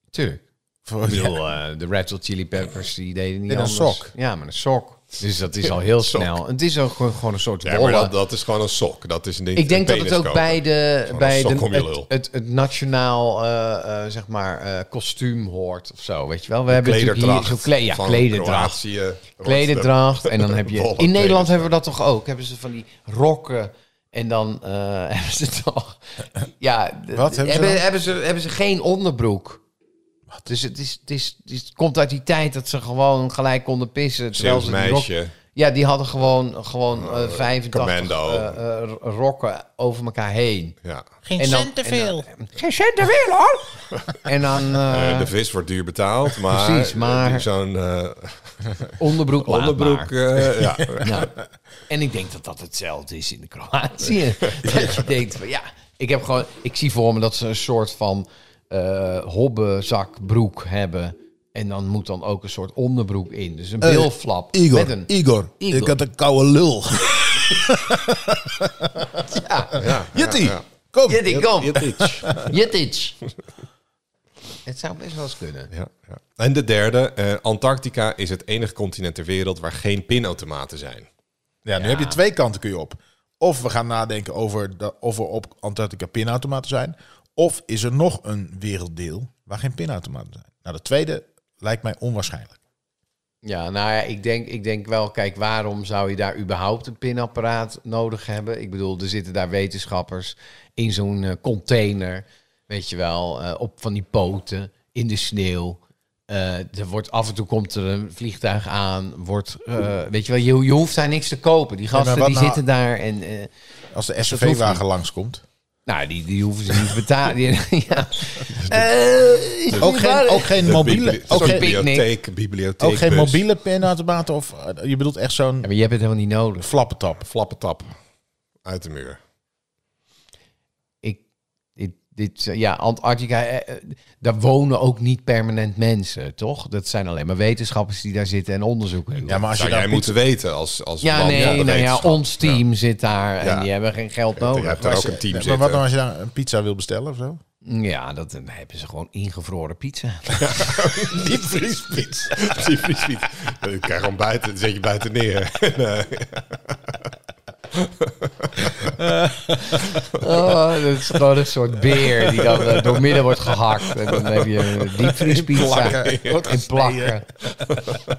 Speaker 4: Tuurlijk.
Speaker 3: Voor,
Speaker 4: Ik bedoel, eh, de Red Hot Chili Peppers, die deden niet
Speaker 3: Met een
Speaker 4: anders.
Speaker 3: sok.
Speaker 4: Ja, maar een sok. Dus dat is al heel snel. Het is ook gewoon, gewoon een soort
Speaker 2: Ja,
Speaker 4: bolle.
Speaker 2: maar dat, dat is gewoon een sok. Dat is niet
Speaker 4: Ik denk
Speaker 2: een
Speaker 4: dat het
Speaker 2: peniskoker.
Speaker 4: ook bij, de,
Speaker 2: Gewoon
Speaker 4: bij
Speaker 2: een
Speaker 4: de,
Speaker 2: sok om je
Speaker 4: het,
Speaker 2: lul.
Speaker 4: het, het nationaal eh, eh, zeg maar, eh, kostuum hoort of zo. Weet je wel? We hebben natuurlijk hier zo'n kle ja,
Speaker 2: van
Speaker 4: klederdracht.
Speaker 2: Kroatië, eh, Rotterdam.
Speaker 4: Klederdracht. En dan heb je.
Speaker 2: Wollen
Speaker 4: In Nederland
Speaker 2: klederdracht.
Speaker 4: hebben we dat toch ook? Hebben ze van die rokken. En dan eh, hebben ze toch. Ja, d-
Speaker 3: Wat hebben ze dan?
Speaker 4: hebben, ze, hebben ze geen onderbroek. Dus het, is, het, is, het, is- het komt uit die tijd dat ze gewoon gelijk konden pissen. Terwijl
Speaker 2: Zeeuws
Speaker 4: ze die rok-
Speaker 2: meisje.
Speaker 4: ja, die hadden gewoon, gewoon eh 85
Speaker 2: commando.
Speaker 4: eh, eh, rokken over elkaar heen.
Speaker 2: Ja.
Speaker 4: Geen cent te veel. Geen cent te veel, hoor! en dan eh,
Speaker 2: Eh, de vis wordt duur betaald, maar,
Speaker 4: Precies, maar-
Speaker 2: eh, zo'n eh,
Speaker 4: onderbroek, laat
Speaker 2: onderbroek...
Speaker 4: maar.
Speaker 2: eh, ja.
Speaker 4: Ja. En ik denk dat dat hetzelfde is in de Kroatië. Dat je denkt van ja, ik heb gewoon, ik zie voor me dat ze een soort van eh hobbenzakbroek hebben. En dan moet dan ook een soort onderbroek in. Dus een bilflap. met een,
Speaker 3: Igor,
Speaker 4: Igor.
Speaker 3: ik had een koude lul.
Speaker 2: Ja,
Speaker 3: Jitty,
Speaker 2: ja, ja.
Speaker 3: kom.
Speaker 4: Jitty, kom.
Speaker 3: Jitty.
Speaker 4: Jetic. Het zou best wel eens kunnen.
Speaker 2: Ja, ja. En de derde, eh, Antarctica is het enige continent ter wereld waar geen pinautomaten zijn.
Speaker 3: Ja, nu heb je twee kanten kun je op. Of we gaan nadenken over de, of er op Antarctica pinautomaten zijn. Of is er nog een werelddeel waar geen pinautomaten zijn. Nou, de tweede lijkt mij onwaarschijnlijk.
Speaker 4: Ja, nou ja, ik denk, ik denk wel, kijk, waarom zou je daar überhaupt een pinapparaat nodig hebben? Ik bedoel, er zitten daar wetenschappers in zo'n eh, container, weet je wel, eh, op van die poten, in de sneeuw. Eh, er wordt, af en toe komt er een vliegtuig aan, wordt, eh, weet je wel, je, je hoeft daar niks te kopen. Die gasten,
Speaker 3: wat
Speaker 4: die
Speaker 3: nou-
Speaker 4: zitten daar en... eh,
Speaker 3: Als
Speaker 2: Dus
Speaker 3: de
Speaker 4: hoeft niet.
Speaker 3: SUV-wagen langskomt.
Speaker 4: nou, die, die hoeven ze niet te betalen. Die- ja. Eh, is
Speaker 3: dus- Ook
Speaker 4: niet
Speaker 3: geen,
Speaker 4: waar.
Speaker 3: ook geen
Speaker 2: De
Speaker 3: mobiele,
Speaker 2: bibli-
Speaker 3: ook
Speaker 2: zo'n
Speaker 3: geen,
Speaker 4: pic-
Speaker 2: bibliotheek, bibliotheek.
Speaker 3: ook geen mobiele pinautomaten. Of, eh, je bedoelt echt
Speaker 4: Ja,
Speaker 3: zo'n
Speaker 4: maar je hebt het helemaal niet nodig.
Speaker 3: flappentap.
Speaker 2: Flappentap. Uit de muur.
Speaker 4: ik, dit, dit, eh, ja, Antarctica, eh, eh, daar wonen ook niet permanent mensen, toch? Dat zijn alleen maar wetenschappers die daar zitten en onderzoeken. doen.
Speaker 3: Ja, maar als je
Speaker 2: Zou
Speaker 3: daar
Speaker 2: jij
Speaker 3: pizza-
Speaker 2: moeten weten als, als
Speaker 4: ja
Speaker 2: man
Speaker 4: nee,
Speaker 2: van de
Speaker 4: nou ja,
Speaker 2: wetenschap.
Speaker 4: ons team zit daar en
Speaker 2: Ja.
Speaker 4: die hebben geen geld
Speaker 2: Je
Speaker 4: nodig.
Speaker 2: hebt daar ook een team
Speaker 3: Maar
Speaker 2: zitten.
Speaker 3: wat nou als je daar een pizza wil bestellen of zo?
Speaker 4: Ja, dat dan hebben ze gewoon ingevroren pizza.
Speaker 2: Die vriespiet. Die vriespiet. Ik krijg gewoon buiten, dan zet je buiten neer.
Speaker 4: Oh, dat is gewoon een soort beer die dan eh, doormidden wordt gehakt. En dan heb je een diepvriespizza.
Speaker 3: In plakken.
Speaker 4: In plakken.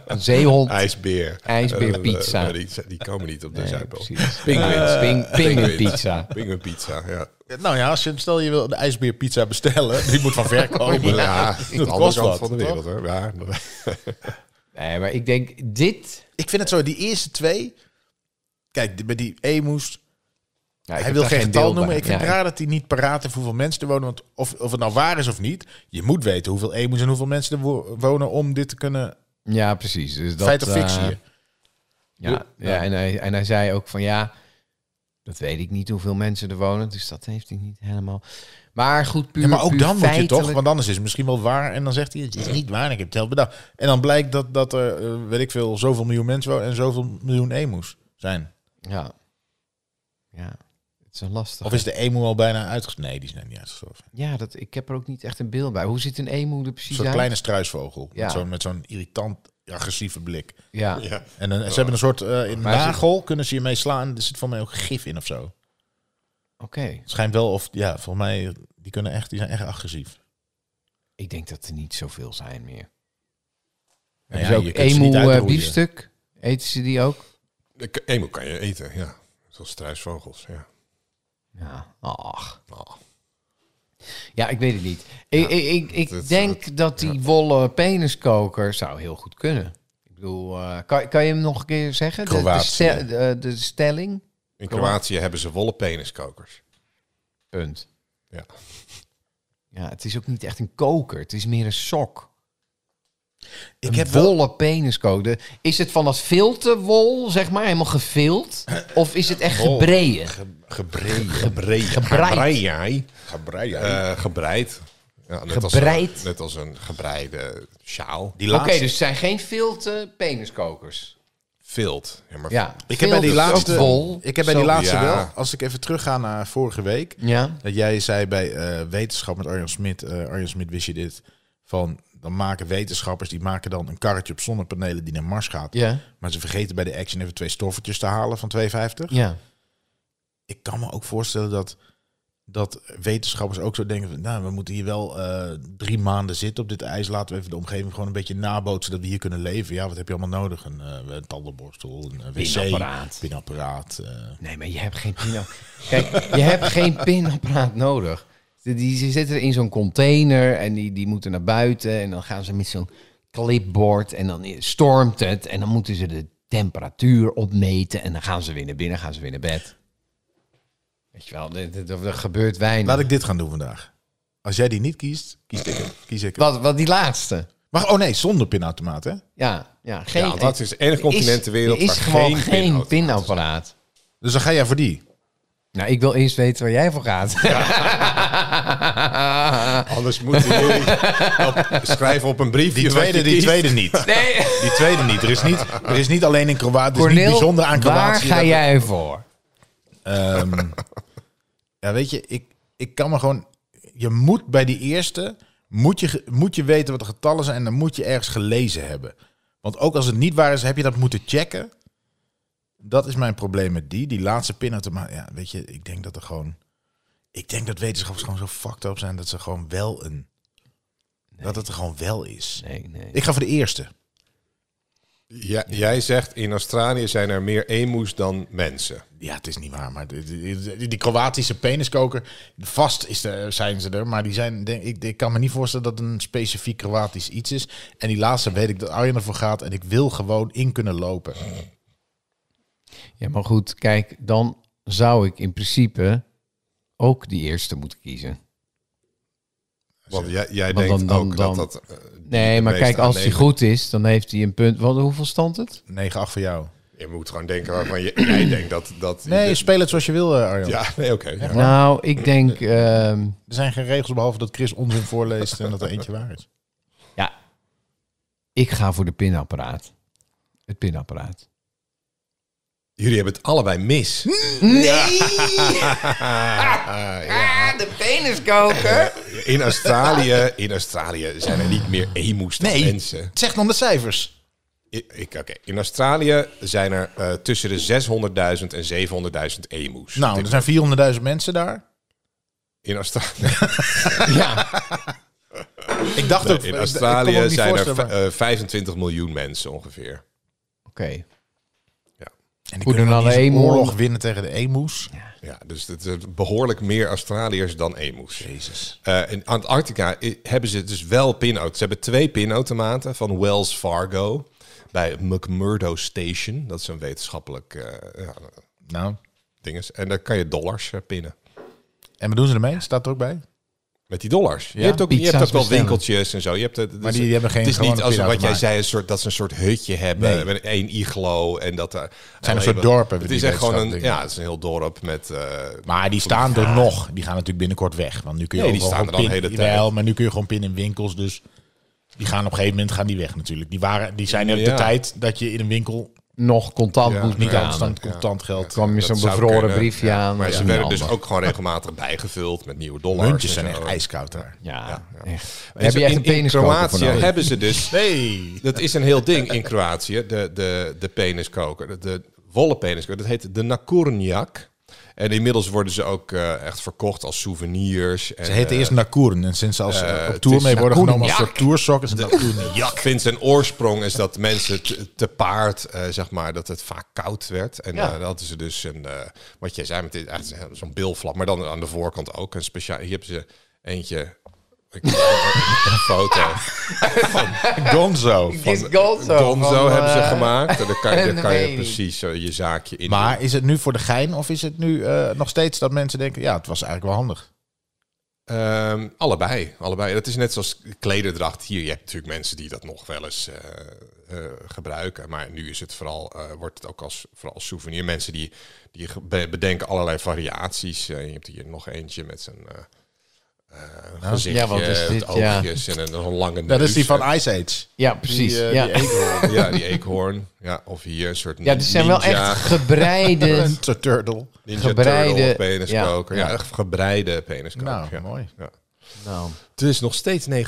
Speaker 4: Een zeehond.
Speaker 2: IJsbeer.
Speaker 4: IJsbeerpizza.
Speaker 2: Eh, eh, die, die komen niet op de Eh, Zuidpool.
Speaker 4: precies.
Speaker 2: Pinguïns.
Speaker 4: Ping- Pinguïnpizza.
Speaker 2: Pinguïnpizza, ja.
Speaker 3: Nou ja, als je, stel je wil de ijsbeerpizza bestellen. Die moet van ver komen.
Speaker 2: Oh, Ja, de
Speaker 3: dat
Speaker 2: andere
Speaker 3: kost
Speaker 2: kant
Speaker 3: wat.
Speaker 2: van de
Speaker 3: toch?
Speaker 2: wereld, hoor. Ja,
Speaker 4: Nee, maar ik denk, dit
Speaker 3: Ik vind het zo, die eerste twee... Kijk, die- bij die Emus,
Speaker 4: Ja, ik
Speaker 3: hij
Speaker 4: heb
Speaker 3: wil
Speaker 4: daar
Speaker 3: geen getal
Speaker 4: beeld
Speaker 3: noemen.
Speaker 4: bij.
Speaker 3: Ik vind
Speaker 4: Ja,
Speaker 3: het raar dat hij niet paraat heeft hoeveel mensen er wonen. Want of, of het nou waar is of niet, je moet weten hoeveel Emus en hoeveel mensen er wo- wonen om dit te kunnen...
Speaker 4: Ja, precies. Dus dat,
Speaker 3: feit of fictie.
Speaker 4: eh,
Speaker 3: hè?
Speaker 4: ja, ja en, hij, en hij zei ook van ja, dat weet ik niet hoeveel mensen er wonen, dus dat heeft hij niet helemaal. Maar goed, puur
Speaker 3: ja, maar ook
Speaker 4: puur
Speaker 3: dan moet je toch,
Speaker 4: feitelijk-
Speaker 3: want anders is het misschien wel waar. En dan zegt hij, het is niet waar, ik heb het zelf bedacht. En dan blijkt dat, dat er, eh, weet ik veel, zoveel miljoen mensen wonen en zoveel miljoen Emus zijn.
Speaker 4: Ja. ja, het is een lastig.
Speaker 3: Of is de emu al bijna uitgestorven? Nee, die is net niet uitgestorven.
Speaker 4: Ja, dat, ik heb er ook niet echt een beeld bij. Hoe ziet een emu er precies
Speaker 3: Een soort
Speaker 4: uit?
Speaker 3: kleine struisvogel.
Speaker 4: Ja.
Speaker 3: Met zo'n met zo'n irritant, agressieve blik.
Speaker 4: Ja.
Speaker 2: ja.
Speaker 3: En een- ze hebben een soort eh, in
Speaker 4: Maar ze-
Speaker 3: nagel, kunnen ze je mee slaan. Er zit voor mij ook gif in of zo.
Speaker 4: oké.
Speaker 3: Het schijnt wel of, ja, voor mij, die, kunnen echt, die zijn echt agressief.
Speaker 4: Ik denk dat er niet zoveel zijn meer.
Speaker 3: Nou
Speaker 4: Dus
Speaker 3: ja,
Speaker 4: ook
Speaker 3: je kunt ze niet
Speaker 4: emu eh,
Speaker 3: uitroeien.
Speaker 4: biefstuk, eten ze die ook?
Speaker 2: De k- Emu kan je eten, ja. Zoals struisvogels, ja.
Speaker 4: Ja, ach.
Speaker 2: Oh.
Speaker 4: Ja, ik weet het niet. Ik, ik, ik, ik
Speaker 2: dat is-
Speaker 4: denk
Speaker 3: eh,
Speaker 4: dat die wollen peniskoker zou heel goed kunnen. Ik bedoel, eh, kan, kan je hem nog een keer zeggen? De- De,
Speaker 3: Kroatië.
Speaker 4: stel- de, de stelling?
Speaker 2: In Kroatië hebben ze wollen peniskokers.
Speaker 4: Punt.
Speaker 2: Ja.
Speaker 4: Ja, het is ook niet echt een koker. Het is meer een sok.
Speaker 3: Ik heb wel...
Speaker 4: Wolle peniscode. Is het van dat filterwol, zeg maar, helemaal gevild? Of is het echt gebreien?
Speaker 2: Gebreid. Gebreid.
Speaker 4: Gebreid.
Speaker 2: Gebreid.
Speaker 3: Gebrei, hè?
Speaker 2: Eh, gebreid. Ja, net Als
Speaker 4: Gebreid.
Speaker 2: een, net als een gebreide sjaal.
Speaker 3: die
Speaker 4: Oké,
Speaker 3: laatste.
Speaker 4: dus het zijn geen filter peniskokers.
Speaker 2: Vilt. Ja, maar
Speaker 4: Ja.
Speaker 3: ik heb bij die
Speaker 4: Filter is ook
Speaker 3: laatste,
Speaker 4: wol.
Speaker 3: ik heb bij die
Speaker 4: Zo.
Speaker 3: laatste
Speaker 2: Ja.
Speaker 3: wel, als ik even terugga naar vorige week,
Speaker 4: Ja.
Speaker 3: dat jij zei bij eh, wetenschap met Arjan Smit, eh, Arjan Smit wist je dit, van dan maken wetenschappers, die maken dan een karretje op zonnepanelen die naar Mars gaat.
Speaker 4: Ja.
Speaker 3: Maar ze vergeten bij de Action even twee stoffertjes te halen van 250.
Speaker 4: Ja.
Speaker 3: ik kan me ook voorstellen dat, dat wetenschappers ook zo denken van, nou, we moeten hier wel eh, drie maanden zitten op dit ijs. Laten we even de omgeving gewoon een beetje nabootsen dat we hier kunnen leven. Ja, wat heb je allemaal nodig? Een, eh, een tandenborstel, een eh, wc,
Speaker 4: Pinapparaat.
Speaker 3: pinapparaat, eh.
Speaker 4: Nee, maar je hebt geen pin. Kijk, je hebt geen pinapparaat nodig. Die, die die zitten in zo'n container en die, die moeten naar buiten. En dan gaan ze met zo'n clipboard en dan stormt het. En dan moeten ze de temperatuur opmeten. En dan gaan ze weer naar binnen, gaan ze weer naar bed. Weet je wel, dit- dit- er gebeurt weinig.
Speaker 3: Laat ik dit gaan doen vandaag. Als jij die niet kiest, kies ik hem. Kies ik hem.
Speaker 4: Wat, wat die laatste.
Speaker 3: Maar, oh nee, zonder pinautomaat, hè?
Speaker 4: Ja, ja, geen,
Speaker 2: Ja, dat is het enige continent ter wereld
Speaker 4: Er is
Speaker 2: waar
Speaker 4: gewoon
Speaker 2: geen
Speaker 4: geen
Speaker 2: pinapparaat
Speaker 4: pinapparaat.
Speaker 3: Dus dan ga jij voor die.
Speaker 4: Nou, ik wil eerst weten waar jij voor gaat.
Speaker 2: Anders moeten jullie op- schrijven op een briefje.
Speaker 3: Die
Speaker 2: wat
Speaker 3: tweede,
Speaker 2: je
Speaker 3: die
Speaker 2: kiest.
Speaker 3: tweede niet.
Speaker 4: Nee.
Speaker 3: Die tweede niet. Er is niet, er is niet alleen in Kroatië, het is niet
Speaker 4: Cornel,
Speaker 3: bijzonder aan Kroatië.
Speaker 4: waar ga
Speaker 3: dat-
Speaker 4: jij voor?
Speaker 3: Ehm, ja, weet je, ik, ik kan me gewoon... Je moet bij die eerste, moet je, ge- moet je weten wat de getallen zijn... en dan moet je ergens gelezen hebben. Want ook als het niet waar is, heb je dat moeten checken. Dat is mijn probleem met die. Die laatste pinnen te maken. Ja, weet je, ik denk dat er gewoon... Ik denk dat wetenschappers gewoon zo fucked up zijn... dat ze gewoon wel een... Dat het er gewoon wel is.
Speaker 4: Nee, nee.
Speaker 3: Ik ga voor de eerste.
Speaker 2: Ja, jij zegt in Australië zijn er meer emoes dan mensen.
Speaker 3: Ja, het is niet waar, maar die, die- die- die Kroatische peniskoker, vast is de, zijn ze er, maar die zijn, denk, ik, ik kan me niet voorstellen dat een specifiek Kroatisch iets is. En die laatste weet ik dat Arjen ervoor gaat en ik wil gewoon in kunnen lopen.
Speaker 4: Ja, maar goed, kijk, dan zou ik in principe ook die eerste moeten kiezen.
Speaker 2: Want jij, jij
Speaker 4: Want
Speaker 2: denkt
Speaker 4: dan- dan-
Speaker 2: ook
Speaker 4: dan-
Speaker 2: dat dat... eh, die
Speaker 4: Nee,
Speaker 2: de
Speaker 4: maar
Speaker 2: meest
Speaker 4: kijk, als die
Speaker 2: aannemende-
Speaker 4: goed is, dan heeft hij een punt. Wat, hoeveel stand het?
Speaker 3: 9, 8 voor jou.
Speaker 2: Je moet gewoon denken waarvan je, jij denkt dat... dat dus-
Speaker 3: Nee, speel het zoals je wil, eh, Arjan.
Speaker 2: Ja, nee, oké. Ja.
Speaker 4: Nou, ik denk, ehm,
Speaker 3: Er zijn geen regels behalve dat Chris onzin voorleest en dat er eentje waar is.
Speaker 4: ja, ik ga voor de pinapparaat. Het pinapparaat.
Speaker 2: Jullie hebben het allebei mis.
Speaker 4: Ah, de peniskoker.
Speaker 2: Eh, In Australië, in Australië zijn er niet meer emoes dan mensen.
Speaker 3: zeg dan de cijfers.
Speaker 2: I- Ik, oké. In Australië zijn er eh, tussen de 600.000 en E 700.000 emoes.
Speaker 3: Nou, er zijn 400.000 mensen daar.
Speaker 2: In Australië...
Speaker 4: Ja,
Speaker 3: Ik dacht ook...
Speaker 2: In Australië zijn er
Speaker 3: En
Speaker 2: eh, 25 miljoen mensen ongeveer.
Speaker 4: oké.
Speaker 3: die
Speaker 4: Hoe
Speaker 3: kunnen
Speaker 4: dan
Speaker 3: dan
Speaker 4: alle
Speaker 3: eens een
Speaker 4: emu-
Speaker 3: oorlog winnen tegen de emoes.
Speaker 2: Ja, dus het is behoorlijk meer Australiërs dan E emoes. Jezus. Eh, in Antarctica i- hebben ze dus wel pinauto's. Ze hebben twee pinautomaten van Wells Fargo bij McMurdo Station. Dat is een wetenschappelijk eh ja,
Speaker 3: Nou,
Speaker 2: ding. Is. En daar kan je dollars eh, pinnen.
Speaker 3: en wat doen ze ermee? Staat er ook bij?
Speaker 2: Met die dollars. je hebt ook, je hebt
Speaker 4: pizza's
Speaker 2: ook wel
Speaker 4: bestellen.
Speaker 2: winkeltjes en zo. Je hebt het, het
Speaker 3: Maar
Speaker 2: is-
Speaker 3: die hebben geen
Speaker 2: Het is niet
Speaker 3: gewone
Speaker 2: als wat jij
Speaker 3: pinautomaat.
Speaker 2: zei, een soort, dat ze een soort hutje hebben
Speaker 3: Nee.
Speaker 2: met één iglo en dat er.
Speaker 3: zijn een
Speaker 2: alleen
Speaker 3: soort
Speaker 2: maar-
Speaker 3: dorpen,
Speaker 2: Het
Speaker 3: die
Speaker 2: is echt gewoon een,
Speaker 3: wetenschappelijk.
Speaker 2: ja, het is een heel dorp met. eh,
Speaker 3: Maar die staan er nog. Die gaan natuurlijk binnenkort weg. Want nu kun je
Speaker 2: Nee, die
Speaker 3: overal
Speaker 2: staan er
Speaker 3: gewoon
Speaker 2: al de
Speaker 3: pin-
Speaker 2: hele tijd.
Speaker 3: Wel, maar nu kun je gewoon pinnen in winkels. Dus die gaan op een gegeven moment gaan die weg natuurlijk. Die, waren, die zijn er
Speaker 2: Ja.
Speaker 3: de tijd dat je in een winkel
Speaker 4: Nog contant
Speaker 2: Ja,
Speaker 4: moet
Speaker 3: niet
Speaker 4: betalen.
Speaker 3: anders dan contant geld.
Speaker 4: kwam je
Speaker 2: dat
Speaker 4: zo'n
Speaker 2: zou
Speaker 4: bevroren
Speaker 2: kunnen.
Speaker 4: briefje
Speaker 2: Ja,
Speaker 4: aan.
Speaker 2: Maar
Speaker 4: Ja,
Speaker 2: ze
Speaker 4: niet
Speaker 2: werden dus
Speaker 4: handig.
Speaker 2: ook gewoon regelmatig bijgevuld met nieuwe dollars.
Speaker 3: Muntjes
Speaker 2: en
Speaker 3: zijn
Speaker 2: zo.
Speaker 3: echt ijskoud daar.
Speaker 4: Ja, echt.
Speaker 2: En
Speaker 4: Heb
Speaker 2: zo
Speaker 4: je echt
Speaker 2: in-
Speaker 4: een peniskoker
Speaker 2: In
Speaker 4: voor
Speaker 2: Kroatië
Speaker 4: nodig?
Speaker 2: hebben ze dus...
Speaker 3: Hey!
Speaker 2: Dat is een heel ding in Kroatië, de, de, de peniskoker. De, de wollen peniskoker. Dat heet de nakurnjak. En inmiddels worden ze ook eh, echt verkocht als souvenirs. En,
Speaker 3: Ze heten
Speaker 2: eh,
Speaker 3: eerst Nakuren. En sinds ze als ze op
Speaker 2: het
Speaker 3: tour
Speaker 2: is
Speaker 3: mee worden genomen als
Speaker 2: Nakoerniak.
Speaker 3: soort toursock is het Nakuren.
Speaker 2: Jak. eh, Vindt zijn oorsprong is dat mensen te, te paard, eh, zeg maar, dat het vaak koud werd. En eh, dan hadden ze dus een, eh, wat jij zei, met dit, echt zo'n- zo'n bilflap, maar dan aan de voorkant ook een speciaal. Hier hebben ze eentje. Ik, een foto.
Speaker 3: Gonzo.
Speaker 4: Is Gonzo.
Speaker 2: Gonzo
Speaker 4: van,
Speaker 2: hebben ze
Speaker 4: eh,
Speaker 2: gemaakt. En dan kan, je- dan kan je
Speaker 4: Weet niet.
Speaker 2: precies zo je zaakje in.
Speaker 3: Maar is het nu voor de gein of is het nu eh, nog steeds dat mensen denken... Ja, het was eigenlijk wel handig.
Speaker 2: Ehm, allebei, allebei. Dat is net zoals klederdracht. Hier, je hebt natuurlijk mensen die dat nog wel eens eh, eh, gebruiken. Maar nu is het vooral, eh, wordt het ook als, vooral als souvenir. Mensen die, die ge- be- bedenken allerlei variaties. Eh, je hebt hier nog eentje met zijn eh eh, gezichtje,
Speaker 4: Ja, wat is
Speaker 2: met
Speaker 4: dit? Ja.
Speaker 2: oogjes en een, een lange neus.
Speaker 3: Dat is die van
Speaker 2: En-
Speaker 3: Ice Age.
Speaker 4: Ja, precies.
Speaker 3: Die, eh,
Speaker 4: ja.
Speaker 3: die eekhoorn.
Speaker 2: Ja, die eekhoorn. Ja, of hier een soort
Speaker 4: ja, dit zijn wel
Speaker 2: ninja-
Speaker 4: echt gebreide...
Speaker 3: Een t- turtle.
Speaker 2: Ninja
Speaker 4: gebreide-
Speaker 2: Turtle peniskoker.
Speaker 4: ja.
Speaker 2: Ja, echt gebreide peniskoker.
Speaker 3: Nou,
Speaker 2: ja.
Speaker 3: mooi.
Speaker 2: Ja.
Speaker 4: nou,
Speaker 2: Het is nog steeds 9-8. Ja,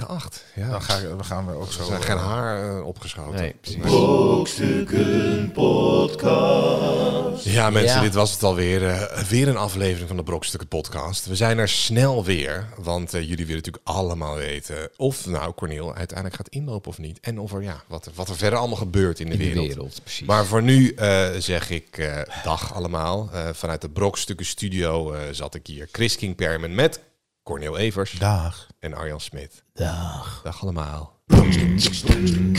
Speaker 3: Dan ga, ik- we gaan we ook
Speaker 2: Er
Speaker 3: zo...
Speaker 2: zijn geen haar eh, opgeschoten.
Speaker 4: nee, precies.
Speaker 1: Brokstukken Podcast.
Speaker 2: Ja, mensen,
Speaker 4: Ja.
Speaker 2: dit was het alweer. eh, weer een aflevering van de Brokstukken Podcast. We zijn er snel weer, want eh, jullie willen natuurlijk allemaal weten of nou Cornel uiteindelijk gaat inlopen of niet. En of er, ja, wat, er, wat er verder allemaal gebeurt in de,
Speaker 4: In de
Speaker 2: wereld.
Speaker 4: wereld, precies.
Speaker 2: Maar voor nu eh, zeg ik eh, dag allemaal. Eh, vanuit de Brokstukken Studio eh, zat ik hier, Chris King Perman met Cornel Evers
Speaker 3: Dag.
Speaker 2: en Arjan Smit. Dag. Dag allemaal.
Speaker 1: Brokstukken